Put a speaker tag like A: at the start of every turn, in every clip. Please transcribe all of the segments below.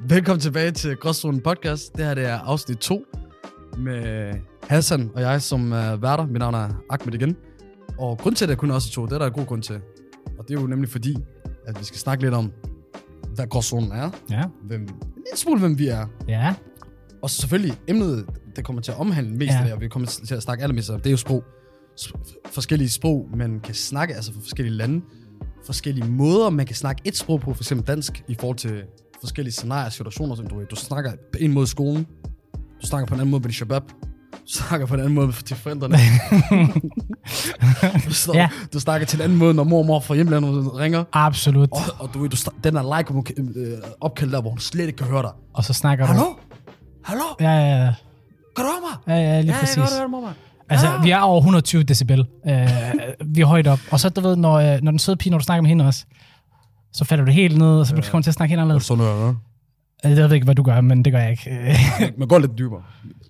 A: Velkommen tilbage til Gråzonen Podcast. Det her det er afsnit 2 med Hassan og jeg som uh, værter. Mit navn er Ahmed igen. Og grund til, at jeg kun er også to, det er der en god grund til. Og det er jo nemlig fordi, at vi skal snakke lidt om, hvad Gråzonen er.
B: Ja.
A: Hvem, en lille smule, hvem vi er.
B: Ja.
A: Og selvfølgelig emnet, det kommer til at omhandle mest ja.
B: Ja.
A: af det, og vi kommer til at snakke allermest om, det er jo sprog. S- f- forskellige sprog, man kan snakke, altså fra forskellige lande. Forskellige måder, man kan snakke et sprog på, for eksempel dansk, i forhold til forskellige scenarier og situationer, som du Du snakker på en måde i skolen, du snakker på en anden måde med din shabab, du snakker på en anden måde til forældrene. du, snakker, ja.
B: Ja.
A: du snakker til en anden måde, når mor og mor fra hjemlandet ringer.
B: Absolut.
A: Og, og du, ved, du sta- den er like øh, opkaldt der, hvor hun slet ikke kan høre dig.
B: Og så snakker
A: Hallo?
B: du...
A: Hallo?
B: Ja, ja, ja.
A: Kan du høre mig?
B: ja, ja lige
A: ja, jeg
B: præcis.
A: kan godt høre det, mormor. Ah.
B: altså,
A: Ja.
B: vi er over 120 decibel. Øh, vi er højt op. Og så, du ved, når, øh, når den søde pige, når du snakker med hende også, så falder du helt ned, og så kommer du til at snakke helt anderledes.
A: Sådan noget, ja.
B: Øh, Jeg ved ikke, hvad du gør, men det gør jeg ikke. Øh,
A: Man går lidt dybere.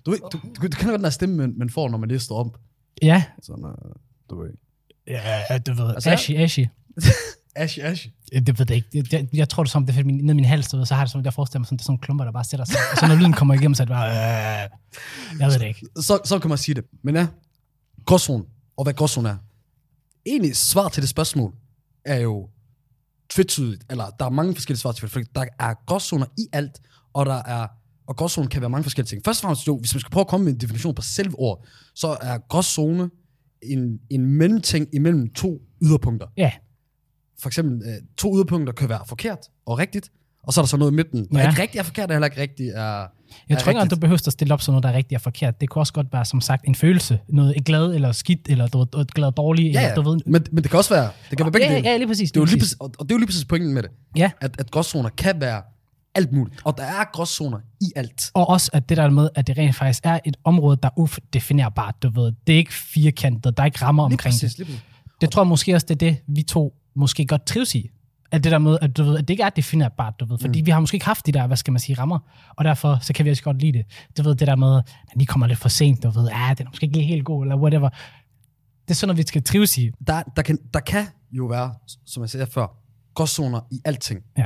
A: Du, ved, du, du, du kender godt den der stemme, man, man får, når man lige står op.
B: ja.
A: Sådan, uh, du ved.
B: Ja, du ved.
A: Altså,
B: Altså,
A: jeg-
B: ashi, ashi.
A: Ash, ash.
B: Øh, Det ved jeg ikke. Jeg, jeg, jeg tror, det er som, det er min, ned i min hals, du ved, så har det som, jeg forestiller mig, sådan, det er sådan nogle klumper, der bare sætter sig. Og så når lyden kommer igennem, så er det bare... Øh, jeg ved det ikke.
A: Så, så kan man sige det. Men ja, gråzonen, og hvad gråzonen er. Egentlig svar til det spørgsmål er jo tvetydigt, eller der er mange forskellige svar til det, fordi der er gråzoner i alt, og der er og gråzonen kan være mange forskellige ting. Først og fremmest jo, hvis man skal prøve at komme med en definition på selve ord, så er gråzone en, en mellemting imellem to yderpunkter.
B: Ja,
A: for eksempel øh, to yderpunkter kan være forkert og rigtigt, og så er der så noget i midten. Ja.
B: Ja.
A: Er ikke rigtigt er forkert, er heller ikke rigtigt er...
B: Jeg
A: er
B: tror ikke, at
A: rigtigt.
B: du behøver at stille op som noget, der er rigtigt og forkert. Det kunne også godt være, som sagt, en følelse. Noget glad eller skidt, eller du, du, glad og dårlig,
A: Ja,
B: eller
A: ja.
B: du ved...
A: Men, men det kan også være... Det kan være begge
B: ja,
A: dele.
B: ja, ja, lige præcis.
A: Det er jo lige
B: præcis.
A: præcis, og, og det er jo lige præcis pointen med det,
B: Ja.
A: at, at gråzoner kan være alt muligt, og der er gråzoner i alt.
B: Og også at det der med, at det rent faktisk er et område, der er udefinerbart, du ved. Det er ikke firkantet, der er ikke rammer
A: Lige
B: omkring
A: præcis,
B: det.
A: lige præcis.
B: Det tror jeg måske også, det er det, vi to måske godt trives i. At det der med, at, du ved, at det ikke er definerbart, du ved. Fordi vi har måske ikke haft de der, hvad skal man sige, rammer. Og derfor, så kan vi også godt lide det. Du ved, det der med, at de kommer lidt for sent, du ved. Ja, den er måske ikke lige helt god, eller whatever. Det er sådan noget, vi skal trives i.
A: Der, der, kan, der kan jo være, som jeg sagde før, gråzoner i alting.
B: Ja.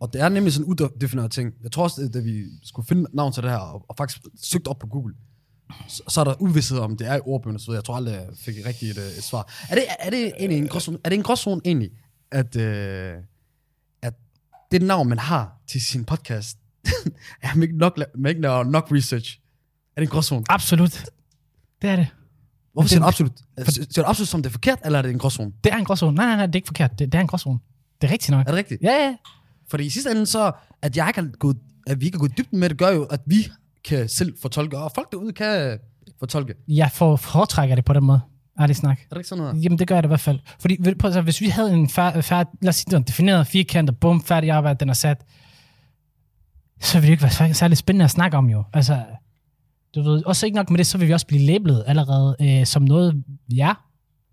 A: Og det er nemlig sådan en udefineret ting. Jeg tror også, at da vi skulle finde navn til det her, og, og faktisk søgte op på Google, så, så er der uvidshed om, det er i ordbøgerne og så videre. Jeg tror aldrig, jeg fik rigtigt et, øh, et svar. Er det, er det egentlig
B: Øh,
A: en gråzone, er det en gråzone egentlig, at, øh, at det navn, man har til sin podcast, er man ikke nok, la- man ikke laver nok research? Er det en gråzone?
B: Absolut. Det er det.
A: Hvorfor
B: det-
A: siger du absolut? Siger du absolut, som det er forkert, eller er det en gråzone?
B: Det er en gråzone. Nej, nej, nej, det er ikke forkert. Det, det er en gråzone. Det er rigtigt nok.
A: Er det rigtigt?
B: Ja, ja.
A: Fordi i sidste ende så, at jeg ikke har gået, at vi ikke har gået i dybden med det, gør jo, at vi kan selv fortolke, og folk derude kan øh, fortolke.
B: Jeg får, foretrækker det på den måde. Ærlig snak.
A: Er det ikke sådan noget?
B: Jamen, det gør jeg da i hvert fald. Fordi, ved- prøv, at se, hvis vi havde en fær, fær, lad os sige, den defineret firkant, og bum, færdig arbejde, den er sat, så ville det ikke være sær- særlig spændende at snakke om jo. Altså, du ved, også ikke nok med det, så vil vi også blive labelet allerede øh, som noget, ja,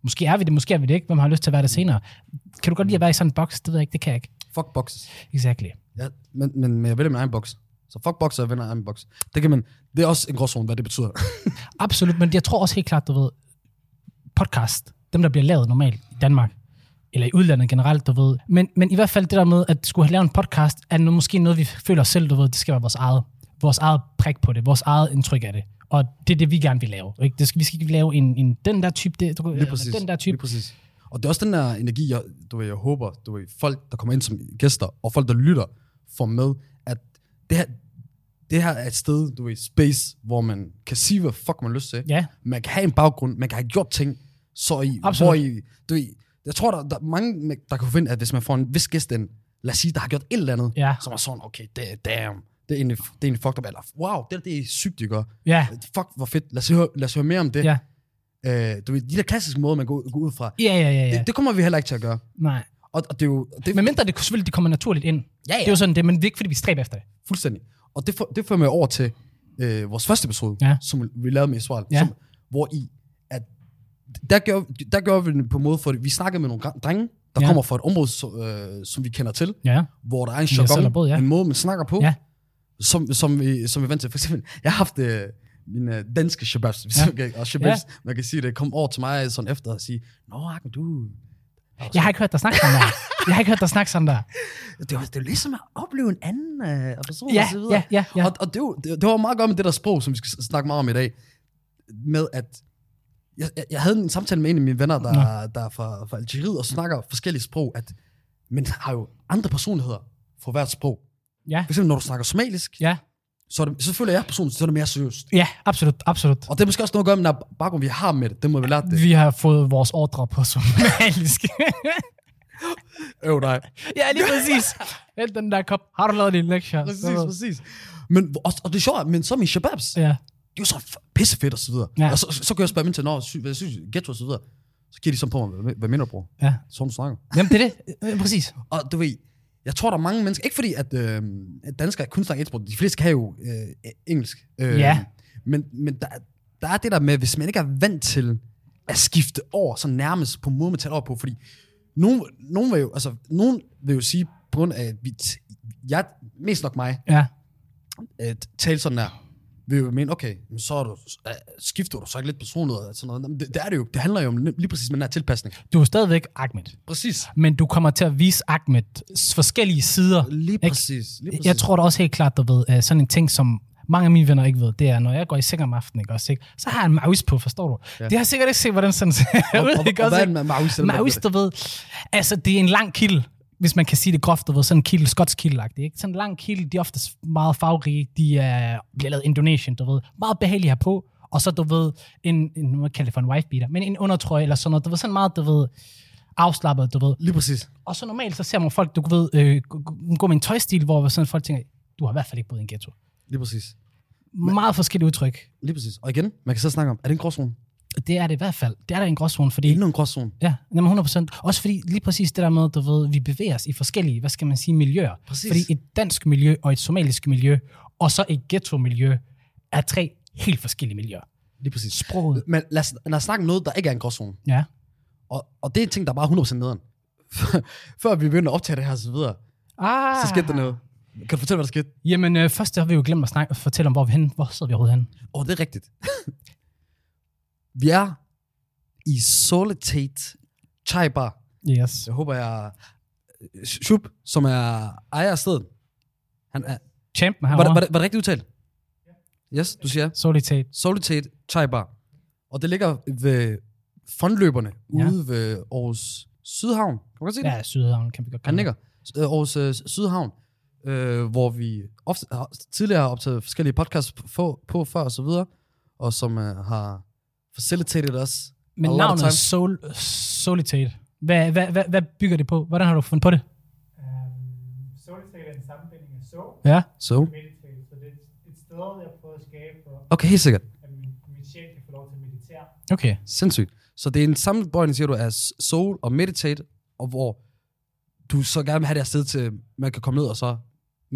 B: måske er vi det, måske er vi det ikke, hvem har lyst til at være det senere. Kan du godt lide at være i sådan en boks? Det ved jeg ikke, det kan jeg ikke.
A: Fuck boxes.
B: Exactly.
A: Ja, men, men, men jeg vælger min egen box. Så fuck boxer, jeg vælger min egen box. Det, kan man, det er også en gråzone, hvad det betyder.
B: Absolut, men jeg tror også helt klart, du ved, podcast, dem der bliver lavet normalt i Danmark, eller i udlandet generelt, du ved. Men, men i hvert fald det der med, at skulle have lavet en podcast, er noget, måske noget, vi føler os selv, du ved, det skal være vores eget, vores eget prik på det, vores eget indtryk af det. Og det er det, vi gerne vil lave. Ikke? Det skal, vi skal ikke lave en, en den der type, det, du,
A: Lige præcis.
B: den der type.
A: Lige præcis. Og det er også den der energi, jeg, du ved, jeg håber, du ved, folk, der kommer ind som gæster, og folk, der lytter, får med, at det her, det her er et sted, du ved, space, hvor man kan sige, hvad fuck man har lyst til.
B: Ja,
A: man kan have en baggrund, man kan have gjort ting, så i,
B: Absolut.
A: hvor i, du ved, jeg tror, der, der er mange, der kan finde, at hvis man får en vis gæst ind, lad os sige, der har gjort et eller andet,
B: Ja.
A: som er sådan, okay, det, damn, det er egentlig, det er egentlig fucked up, eller wow, det, der, det er sygt, de gør.
B: ja,
A: Fuck, hvor fedt, lad os høre, lad os høre mere om det.
B: ja,
A: Øh, du ved, de der klassiske måder, man går, går ud fra,
B: ja, ja, ja.
A: ja.
B: ja.
A: det, det, kommer vi heller ikke til at gøre.
B: Nej.
A: Og, og det er jo, det,
B: Men mindre det kunne selvfølgelig, det kommer naturligt ind.
A: ja,
B: Det er
A: ja,
B: jo sådan det, men det er ikke, fordi vi stræber efter det.
A: fuldstændig. Og det, for, det fører mig over til øh, vores første episode,
B: Ja.
A: som vi lavede med Israel,
B: Ja.
A: som, hvor i, at der gjorde, der gjorde vi det på en måde, for vi snakkede med nogle gra- drenge, der ja.
B: Ja.
A: kommer fra et område, så, øh, som vi kender til,
B: Ja,
A: hvor der er en
B: Vi har selv
A: jargon,
B: boet,
A: ja.
B: ja.
A: en måde, man snakker på,
B: Ja.
A: som, som, vi, som vi er vant til. For eksempel, jeg har haft øh, min øh, danske shababs, hvis
B: Ja.
A: man kan, og shababs, ja. man kan sige det, kom over til mig sådan efter og sige, Nå, Ahmed, du...
B: Jeg har ikke hørt dig snakke om det. Jeg har ikke hørt dig snakke sådan der.
A: Det var, det var ligesom at opleve en anden øh, person
B: Ja,
A: og så videre.
B: ja, ja. ja.
A: Og, og det, er jo- det, det var meget godt med det der sprog, som vi skal s- snakke meget om i dag. Med at... Jeg, jeg, jeg havde en samtale med en af mine venner, der, der er fra, fra Algeriet, og snakker forskellige sprog. At, men har jo andre personligheder for hvert sprog.
B: Ja,
A: For eksempel, når du snakker somalisk,
B: ja,
A: så, er det, så føler jeg personligt, så er det mere seriøst.
B: ja, absolut, absolut.
A: Og det er måske også noget at gøre med den her baggrund, vi har med det. Det må vi lære det.
B: Vi har fået vores ordre på somalisk.
A: Øv dig.
B: ja, lige præcis. Helt den der kop. Har du lavet din lektier?
A: Præcis, præcis. Men, og, og det er sjovt, men som i shababs,
B: Ja.
A: det er jo så f- pissefedt og så videre.
B: Ja.
A: Ja. Og så, så, så kan jeg spørge dem til, når sy, hvad synes I, ghetto og så videre. Så giver de sådan på mig, hvad, hvad mener du, bror?
B: Ja.
A: Sådan du snakker.
B: Jamen, det er det. Øh, Præcis.
A: Og du ved, jeg tror, der er mange mennesker, ikke fordi, at, øh, at danskere kun snakker et sprog, de fleste kan jo øh, engelsk. Øh,
B: Ja.
A: Men, men der, er- der er det der med, hvis man ikke er vant til at skifte over, så nærmest på måde, man taler over på, fordi nogen, nogen, vil, jo, altså, nogen vil jo sige, på grund af, at vi, t- jeg, mest nok mig,
B: Ja.
A: at tale sådan der, vil jo mene, okay, men så er du, øh, skifter du så ikke lidt personlighed og sådan noget. Men det, det, er det jo. Det handler jo om lige præcis med den her tilpasning.
B: Du er stadigvæk Ahmed,
A: Præcis.
B: men du kommer til at vise Ahmeds forskellige sider.
A: Lige
B: Ikke?
A: præcis. Lige præcis.
B: Jeg tror da også helt klart, du ved, øh, sådan en ting, som mange af mine venner ikke ved, det er, når jeg går i seng om aftenen, ikke også, ikke? så har jeg en maus på, forstår du? Ja.
A: Ja.
B: Det har jeg sikkert ikke set, hvordan sådan ser
A: og, og,
B: ud, ikke
A: og, og,
B: også?
A: hvad er en
B: ikke?
A: maus? eller hvad?
B: Maus, du ved, altså det er en lang kilde, hvis man kan sige det groft, du ved, sådan en kilde, skotsk kilde ikke? Sådan en lang kilde, de er oftest meget farverige, de er, bliver lavet i Indonesien, du ved, meget behagelige herpå, og så, du ved, en, en nu må jeg kalde det for en wife beater, men en undertrøje eller sådan noget, du ved, sådan meget, du ved, afslappet, du ved,
A: Lige præcis.
B: og så normalt, så ser man folk, du ved, øh, gå- gå- gå med en tøjstil, hvor sådan folk tænker, du har i hvert fald ikke boet i en ghetto.
A: Lige præcis.
B: Meget forskellige udtryk.
A: Lige præcis. Og igen, man kan så snakke om, er det en gråzone?
B: Det er det i hvert fald. Det er der en gråzone, fordi...
A: Det er en gråzone.
B: Ja, nemlig 100%. Også fordi lige præcis det der med, du ved, vi bevæger os i forskellige, hvad skal man sige, miljøer.
A: Præcis.
B: Fordi et dansk miljø og et somalisk miljø, og så et ghetto-miljø, er tre helt forskellige miljøer.
A: Lige præcis.
B: Sproget.
A: Men lad os, lad os snakke om noget, der ikke er en gråzone.
B: Ja.
A: Og, og det er en ting, der er bare 100% nederen. Før vi begynder at optage det her og så videre,
B: Ah.
A: så skete der noget. Kan du fortælle, hvad der skete?
B: Jamen, øh, først har vi jo glemt at snakke, fortælle om, hvor vi er henne. Hvor sidder vi overhovedet henne?
A: Åh, oh, det er rigtigt. vi er i Solitate Chai Bar.
B: Yes.
A: Jeg håber, jeg... øh, Shub, som er ejer af stedet. Han er,
B: Champ
A: var, det, var,
B: herovre.
A: det, var det rigtigt udtalt? Yes, du siger.
B: Solitate.
A: Solitate Chai Bar. Og det ligger ved fondløberne
B: Ja.
A: ja. ude ved Aarhus Sydhavn. Kan du godt se det?
B: Ja, Sydhavn kan vi godt
A: Han
B: kalde det.
A: ligger. Øh, Aarhus øh, Sydhavn, øh, hvor vi ofte, har, tidligere har optaget forskellige podcasts på, på før og så videre, og som øh, har facilitated os.
B: Men
A: a lot of
B: navnet
A: times.
B: Sol, Solitate, hvad, hvad, hvad, hvad bygger det på? Hvordan har du fundet på det?
C: Øhm, Solitate er en sammenbinding af soul
B: Ja.
A: Så.
C: og meditate, så det er et- et sted, jeg prøver at skabe for,
A: Okay, helt sikkert.
C: at min, min sjæl kan få lov til at meditere.
B: Okay.
A: Sindssygt. Så det er en sammenbøjning, siger du, af soul og meditate, og hvor du så gerne vil have det her sted til, man kan komme ned og så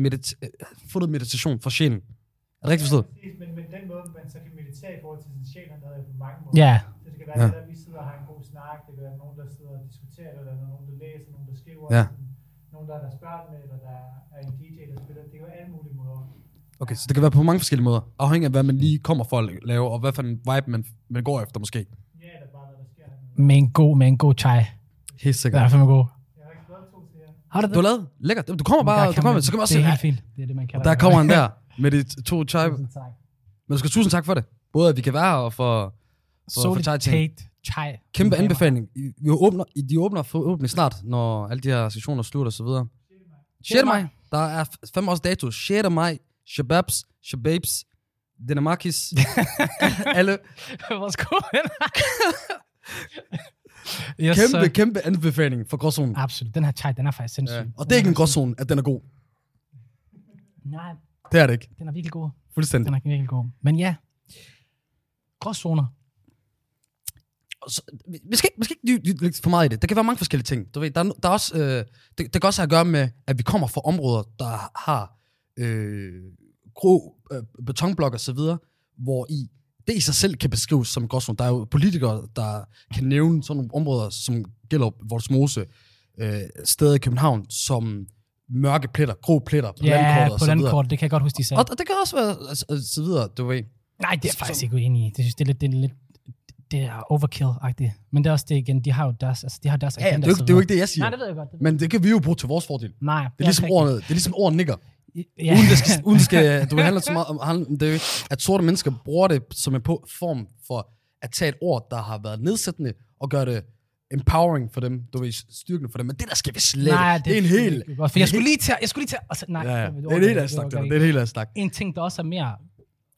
A: medit- øh, få noget meditation for sjælen. Er det rigtigt forstået?
C: Præcis, men, men den måde, man så kan meditere i forhold til sin sjæl, er noget på mange måder.
B: Ja. Yeah.
C: Så det kan være,
A: Ja.
C: at vi sidder og har en god snak, det kan være nogen, der sidder og diskuterer, eller der er nogen, der læser, nogen, der skriver,
A: Ja.
C: nogen, der er deres børn med, eller der er en DJ, der spiller. Det kan være alle mulige måder.
A: Okay, så det kan være på mange forskellige måder, afhængig af hvad man lige kommer for at lave, og hvad for en vibe man, man går efter måske.
C: Ja, eller bare, hvad der sker.
B: Med en god, med en god chai.
A: Helt
B: Det
A: sikkert.
B: er fandme god.
C: Jeg har ikke fået to til jer.
B: Har
A: Du har lavet? Lækkert. Du kommer bare, du kommer, så kan man også
B: Det er
A: se,
B: helt fint. Det er det, man kalder
A: der
B: det.
A: kommer han der, med de to chai.
B: Tusind tak.
A: Men du skal tusind tak for det. Både at vi kan være her, og for Chai-ting.
B: Solitate chai.
A: kæmpe anbefaling. I- Vi åbner, I- de åbner forhåbentlig snart, når alle de her sessioner slutter og så videre. 6. maj. Der er f- fem års dato. 6. maj. Shababs, Shababs, Dinamakis. Alle.
B: Værsgo. yes,
A: Kæmpe,
B: Kæmpe.
A: kæmpe anbefaling for gråzonen.
B: Absolut. Den her chai, den er faktisk sindssyg.
A: Ja. Og det er ikke en gråzone, at den er god.
B: Nej,
A: Det er det ikke.
B: den er virkelig god.
A: Fuldstændig.
B: Den er virkelig god. Men ja. Gråzoner.
A: Og så, vi- vi skal ikke, vi skal ikke dy- dy- lægge for meget i det. Der kan være mange forskellige ting. Du ved, der, er no- der er også, øh, det, det kan også have at gøre med, at vi kommer fra områder, der har øh, grå øh, betonblok og så videre, hvor i det i sig selv kan beskrives som gråzone. Der er jo politikere, der kan nævne sådan nogle områder, som gælder Voldsmose, øh, steder i København, som mørke pletter, grå pletter på
B: Ja,
A: landkortet og så
B: på
A: videre.
B: landkort. Det kan jeg godt huske, de sagde.
A: Og, og det kan også være og altså, så- og så videre, du ved.
B: Nej, det er jeg faktisk ikke uenig i. Det synes, det er lidt, det er lidt det er overkill-agtigt. Men det er også det igen, de har jo deres, altså, de har deres
A: Ja, ja, det, er
B: agenda.
A: jo ikke, det er jo ikke det, jeg siger.
B: Nej, det ved jeg godt. Det ved.
A: Men det kan vi jo bruge til vores fordel.
B: jeg. Nej,
A: Det er ligesom
B: rigtigt.
A: ordet, det er ligesom ordet nigger.
B: Ja.
A: Uden det skal, uden det skal du handler så meget om, handler- det er jo, at sorte mennesker bruger det som en på- form for at tage et ord, der har været nedsættende, og gøre det empowering for dem, du ved, styrkende for dem. Men det der skal vi slet
B: Nej,
A: det, det er en hel...
B: det er godt, For jeg skulle lige til, jeg skulle lige til, altså, nej,
A: Ja, ja.
B: vil
A: Det
B: du
A: er en
B: overgå
A: hel
B: vil
A: af
B: du
A: snak, det
B: overgå
A: der. Det er en hel af snak.
B: en ting, der også er mere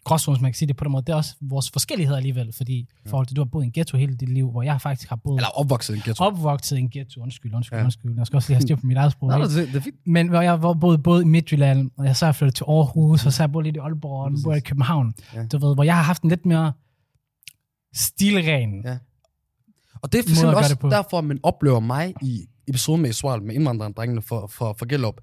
B: gråzones, man kan sige det på den måde, det er også vores forskellighed alligevel, fordi i forhold til, du har boet i en ghetto hele dit liv, hvor jeg faktisk har boet
A: Eller opvokset i en ghetto.
B: opvokset i en ghetto. Undskyld, undskyld,
A: Ja.
B: ja. undskyld. Jeg skal også lige have styr på mit eget sprog.
A: Nej,
B: ikke?
A: det, det er fint.
B: Men hvor jeg var både, både i Midtjylland, og jeg så er jeg flyttet til Aarhus, og så har jeg boet lidt i Aalborg, og nu bor jeg i København.
A: Ja.
B: Ja. Du ved, hvor jeg har haft en lidt mere stilren.
A: Ja.
B: Ja.
A: Og det er for
B: Måder
A: eksempel
B: at gøre
A: også
B: det på.
A: derfor, man oplever mig i episoden med Israel, med indvandrerdrengene for, for, for Gellup,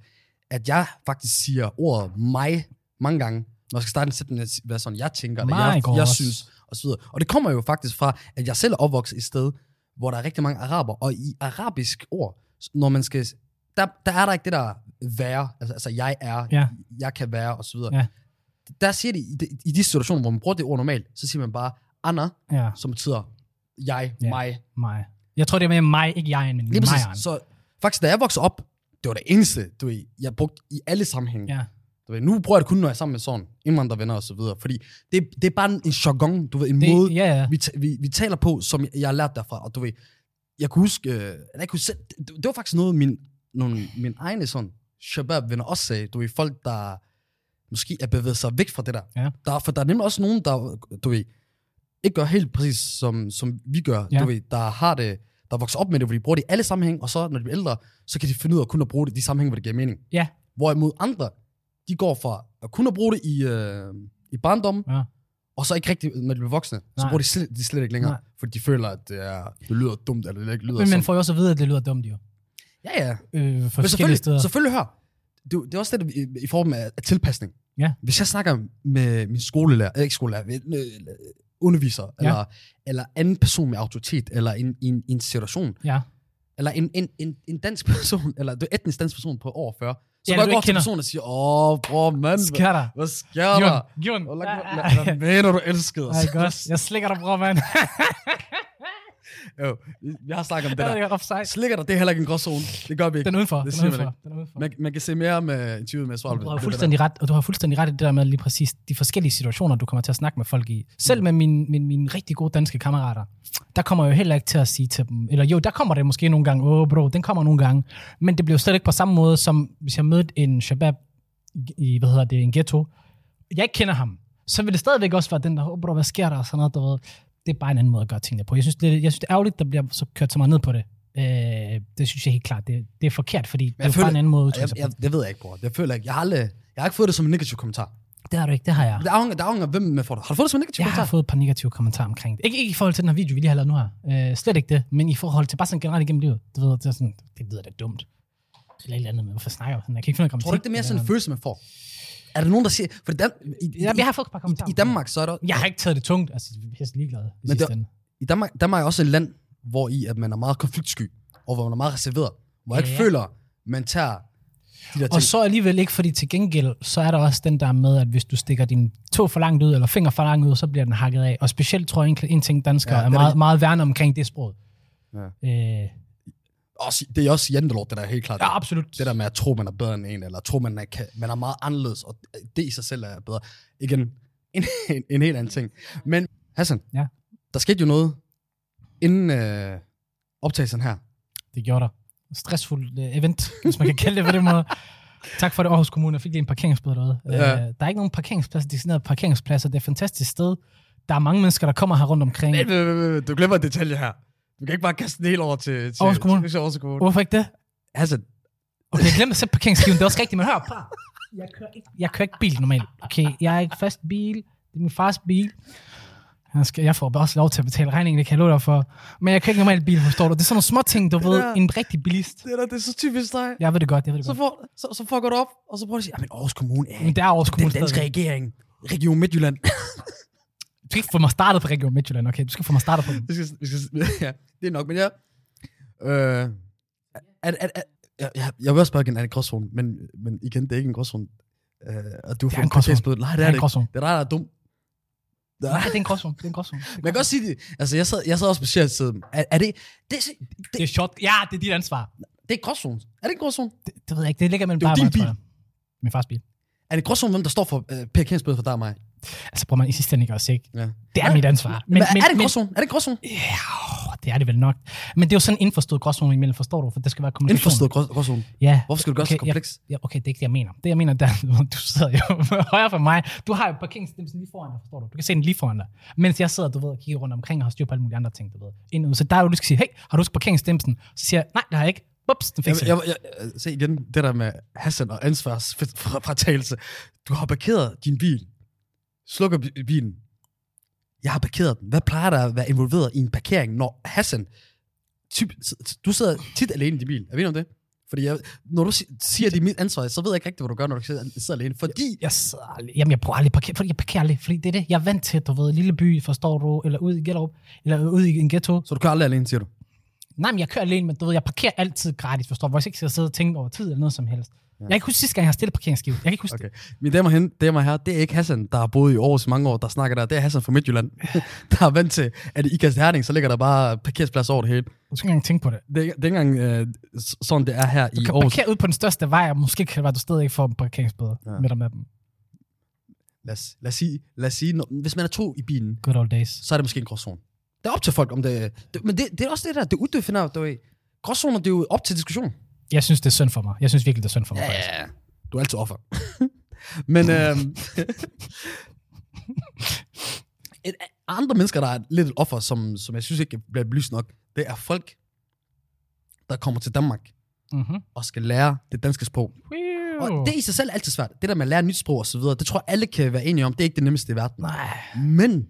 A: at jeg faktisk siger ordet mig mange gange, når jeg skal starte en sætning, at sige, hvad sådan jeg tænker, eller
B: Mig
A: jeg,
B: går
A: jeg
B: også.
A: synes, og så videre. Og det kommer jo faktisk fra, at jeg selv er opvokset et sted, hvor der er rigtig mange araber, og i arabisk ord, når man skal, der, der er der ikke det der være, altså, altså jeg er,
B: Ja.
A: jeg kan være, og så videre.
B: Ja.
A: Der siger de, i de, i de situationer, hvor man bruger det ord normalt, så siger man bare, Anna,
B: ja,
A: som betyder jeg,
B: Ja.
A: mig,
B: mig. Jeg tror, det er mere mig, ikke jeg, men
A: Lige
B: mig.
A: præcis. Så faktisk, da jeg voksede op, det var det eneste, du ved, jeg brugte i alle sammenhænge. Ja.
B: Ja.
A: Du ved, nu bruger jeg det kun, når jeg er sammen med sådan indvandrervenner og så videre. Fordi det, det er bare en, en jargon, du ved, en det, måde,
B: Det, ja, ja.
A: vi, ta- vi, vi, taler på, som jeg, jeg har lært derfra. Og du ved, jeg kunne huske, øh, eller jeg kunne selv, det, det, var faktisk noget, min, nogle, min egne sådan shabab-venner også sagde. Du ved, folk, der måske er bevæget sig væk fra det der.
B: Ja.
A: der for der er nemlig også nogen, der, du ved, ikke gør helt præcis, som, som vi gør. Ja.
B: Ja.
A: Du ved, der har det, der vokser op med det, hvor de bruger det i alle sammenhæng, og så når de bliver ældre, så kan de finde ud af kun at bruge det i de sammenhæng, hvor det giver mening.
B: Ja.
A: Hvorimod andre, de går fra at kun at bruge det i, øh, i barndommen,
B: Ja.
A: og så ikke rigtigt, når de bliver voksne, Nej. så
B: Nej.
A: bruger de slet, de slet ikke længere, Nej.
B: Nej.
A: fordi de føler, at det, er, det lyder dumt, eller det ikke lyder
B: Men man
A: sådan.
B: får jo også at vide, at det lyder dumt jo.
A: Ja, ja.
B: Øh,
A: Men
B: forskellige steder.
A: selvfølgelig, selvfølgelig hør. Det, er jo- det er også det, i, i form af, af tilpasning.
B: Ja.
A: Hvis jeg snakker med min skolelærer, øh, ikke skolelærer, men, øh, underviser, ja.
B: Ja.
A: eller, eller anden person med autoritet, eller en, en, en situation,
B: Ja.
A: eller en, en, en, en dansk person, eller du er etnisk dansk person på over 40, så
B: Ja,
A: ja, går
B: du
A: jeg
B: ikke
A: over til
B: kender.
A: personen og siger, åh, bror, mand, hvad,
B: Skatter.
A: hvad sker der?
B: Jon, Jon.
A: Hvad,
B: Ah, ah,
A: hvad, hvad mener du, elskede?
B: ah, ikke også? Jeg slikker dig, bror, mand.
A: Jo, jeg har snakket om det
B: Det
A: der.
B: er offside.
A: Slikker dig, det er heller ikke en gråzone. Det gør vi ikke.
B: Den er udenfor.
A: Det
B: Den
A: siger
B: er
A: man
B: udenfor.
A: ikke.
B: Den er udenfor.
A: Man, man kan se mere med interviewet med Svarløb.
B: Du har fuldstændig ret, og du har fuldstændig ret i det der med lige præcis de forskellige situationer, du kommer til at snakke med folk i.
A: Mm.
B: Selv med mine, mine, mine rigtig gode danske kammerater, der kommer jeg jo heller ikke til at sige til dem, eller jo, der kommer det måske nogle gange, åh bro, den kommer nogle gange, men det bliver jo slet ikke på samme måde, som hvis jeg mødte en shabab i, hvad hedder det, en ghetto, jeg ikke kender ham, så vil det stadigvæk også være den der, åh bro, hvad sker der, og sådan noget, du ved. Det er bare en anden måde at gøre tingene på. Jeg synes, det, jeg synes, det er ærgerligt, der bliver så kørt så meget ned på det. Øh, det synes jeg helt klart, det, det er forkert, fordi det er jo
A: føler-
B: bare en anden måde at udtrykke
A: Jeg,
B: sig på.
A: jeg, det ved jeg ikke, bror. Jeg føler ikke. Jeg har, aldrig, jeg har ikke fået det som en negativ kommentar.
B: Det har du ikke, det har jeg.
A: Det afhænger, det afhænger af, hvem man får det. Har du fået det som en negativ
B: Jeg har
A: kommentar?
B: fået et par negative kommentarer omkring det. Ikke, ikke i forhold til den her video, vi lige har lavet nu her. Øh, slet ikke det, men i forhold til bare sådan generelt igennem livet. Du ved, det er sådan, det lyder da dumt. Eller et eller andet, men hvorfor snakker jeg sådan? Jeg kan ikke finde noget
A: Tror du ikke, det er mere sådan en
B: følelse?
A: følelse, man får? Er der nogen, der siger... For i, Dan, i, i,
B: Jeg, jeg har fået et par kommentarer.
A: i, i Danmark, så er der...
B: omkring det. Jeg har ikke taget det tungt. Altså, jeg er pisse ligeglad i
A: det-
B: sidste ende.
A: I Danmark, Danmark er også et land, hvor i, at man er meget konfliktsky, og hvor man er meget reserveret. Hvor jeg
B: Ja,
A: ikke
B: ja.
A: føler, man tager de der ting.
B: Og så alligevel ikke, fordi til gengæld, så er der også den der med, at hvis du stikker din tå for langt ud, eller finger for langt ud, så bliver den hakket af. Og specielt tror jeg, egentlig, en ting danskere
A: Ja,
B: ja, er
A: det er
B: meget,
A: det.
B: meget værne omkring det sprog. Ja. Øh,
A: også, det er også jantelort, det der er helt klart.
B: ja, absolut.
A: Det der med at tro, man er bedre end en, eller tro, man er, kan, man er meget anderledes, og det i sig selv er bedre. Igen, en, en, en helt anden ting. Men Hassan,
B: Ja.
A: der skete jo noget inden øh, optagelsen her.
B: Det gjorde der. Stressfuld øh, event, hvis man kan kalde det på den måde. Tak for det, Aarhus Kommune. Jeg fik lige en parkeringsbøde derude.
A: Ja.
B: Ja. Øh, der er ikke nogen parkeringspladser, designerede parkeringspladser. Det er et fantastisk sted. Der er mange mennesker, der kommer her rundt omkring.
A: Men, men, men, men, du glemmer en detalje her. Du kan ikke bare kaste den helt over til, til
B: Aarhus Kommune.
A: Til, til Aarhus Kommune.
B: Hvorfor ikke det?
A: Hassan,
B: Okay, jeg glemte at sætte parkeringsskiven. Det er også rigtigt, men hør på. Jeg kører, ikke, jeg kører ikke bil normalt. Okay, jeg er ikke fast bil. Det er min fars bil. Han skal, jeg får bare også lov til at betale regningen, det kan jeg love dig for. Men jeg kører ikke normalt bil, forstår du? Det er sådan nogle små ting, du ved.
A: der-
B: En rigtig bilist.
A: det er, da- det er så typisk dig.
B: Jeg ved det godt, jeg ved det
A: Så,
B: godt.
A: får, så, så fucker du op, og så prøver du at sige, men Aarhus Kommune er
B: Men
A: ikke
B: det er Aarhus
A: den
B: Kommune.
A: danske
B: stadigvæk.
A: regering. Region Midtjylland.
B: Du skal ikke få mig startet på Region Midtjylland, okay? Du skal ikke få mig startet på den.
A: vi skal, vi skal, ja, det er nok, men ja. Øh, at, at, at, jeg, jeg, jeg vil også spørge igen, er det en gråzone? Men, men igen, det er ikke en gråzone. Øh, og du
B: Det
A: får
B: er en gråzone.
A: parkeringsbøde. Nej, det er det
B: en
A: ikke.
B: gråzone.
A: Det er dig, der er dum.
B: Nej, det er en gråzone. Det er en gråzone.
A: Men jeg kan også sige det. Altså, jeg sad, jeg sad også på siden. Er, er det... Det, det, det,
B: Det er short. Ja, det er dit ansvar.
A: det er gråzone. Er det en gråzone?
B: Det, det ved jeg ikke. Det ligger mellem
A: Det er jo
B: dig og
A: din
B: mig, tror
A: bil.
B: jeg. Min fars bil.
A: Er det gråzone, hvem der står for øh, Per Kjens bøde for dig og mig?
B: Altså, bruger man i sidste ende ikke også, ikke?
A: Ja.
B: Det er
A: Ja.
B: mit ansvar.
A: Men, men, er det en gråzone? Er det en gråzone?
B: Ja, åh, det er det vel nok. Men det er jo sådan en indforstået gråzone imellem, forstår du? For det skal være kommunikation.
A: Indforstået grå- gråzone.
B: Ja.
A: Hvorfor skal du gøre det så
B: Okay,
A: kompleks?
B: Ja, okay, det er ikke det, jeg mener. Det, jeg mener, der, du sidder jo højere for mig. Du har jo parkeringsstemmelsen lige foran dig, forstår du? Du kan se den lige foran dig. Mens jeg sidder, du ved, og kigger rundt omkring og har styr på alle mulige andre ting, du ved. Inden, så der er jo, du skal sige, hey, har du husket parkeringsstemmelsen? Så siger jeg, nej, det har jeg ikke. Ups, den fik
A: Jeg,
B: jeg,
A: jeg, jeg, jeg, øh, se igen, det der med Hassan og ansvarsfratagelse. Du har parkeret din bil. Slukker bi- bilen. Jeg har parkeret den. Hvad plejer der at være involveret i en parkering, når Hassan... Typ, du sidder tit alene i din bil. Er vi enige om det? Fordi jeg, når du si- siger, at det er mit ansvar, så ved jeg ikke rigtigt, hvad du gør, når du sidder, sidder alene. Fordi
B: jeg sidder aldrig, jamen jeg bruger aldrig parkere, fordi jeg parkerer aldrig, fordi det er det, jeg er vant til, du ved, lille by, forstår du, eller ud i Gellerup, eller ud i en ghetto.
A: Så du kører aldrig alene, siger du?
B: Nej, men jeg kører alene, men du ved, jeg parkerer altid gratis, forstår du, hvor jeg ikke skal sidde og tænke over tid eller noget som helst. Ja. Jeg kan ikke huske sidste gang, jeg har stillet parkeringsskivet. Jeg kan ikke huske okay.
A: Okay. Mine damer, og hen, damer og herrer, det er ikke Hassan, der har boet i Aarhus i mange år, der snakker der. Det er Hassan fra Midtjylland, der er vant til, at i Ikast Herning, så ligger der bare parkeringsplads over det hele.
B: det. Du skal ikke engang tænke på det.
A: Det er ikke det er ikke engang øh, s- sådan, det er her
B: Du
A: i
B: kan
A: Aarhus.
B: parkere ud på den største vej, og måske kan det være, du stadig ikke får en parkeringsbøde
A: Ja.
B: ja. midt om natten.
A: Lad os, lad os sige, lad os sige når, hvis man er to i bilen,
B: Good old days.
A: så er det måske en gråzone. Det er op til folk, om det, det Men det, det er også det der, det er udefineret. Det er, gråzoner, det er jo op til diskussion.
B: Jeg synes, det er synd for mig. Jeg synes virkelig, det er synd for mig. faktisk.
A: Ja, du er altid offer. Men øh, et, andre mennesker, der er lidt et offer, som, som jeg synes ikke bliver belyst nok, det er folk, der kommer til Danmark
B: Mhm.
A: og skal lære det danske sprog. Og det er i sig selv er altid svært. Det der med at lære et nyt sprog og så videre, det tror jeg alle kan være enige om, det er ikke det nemmeste i verden.
B: Nej.
A: Men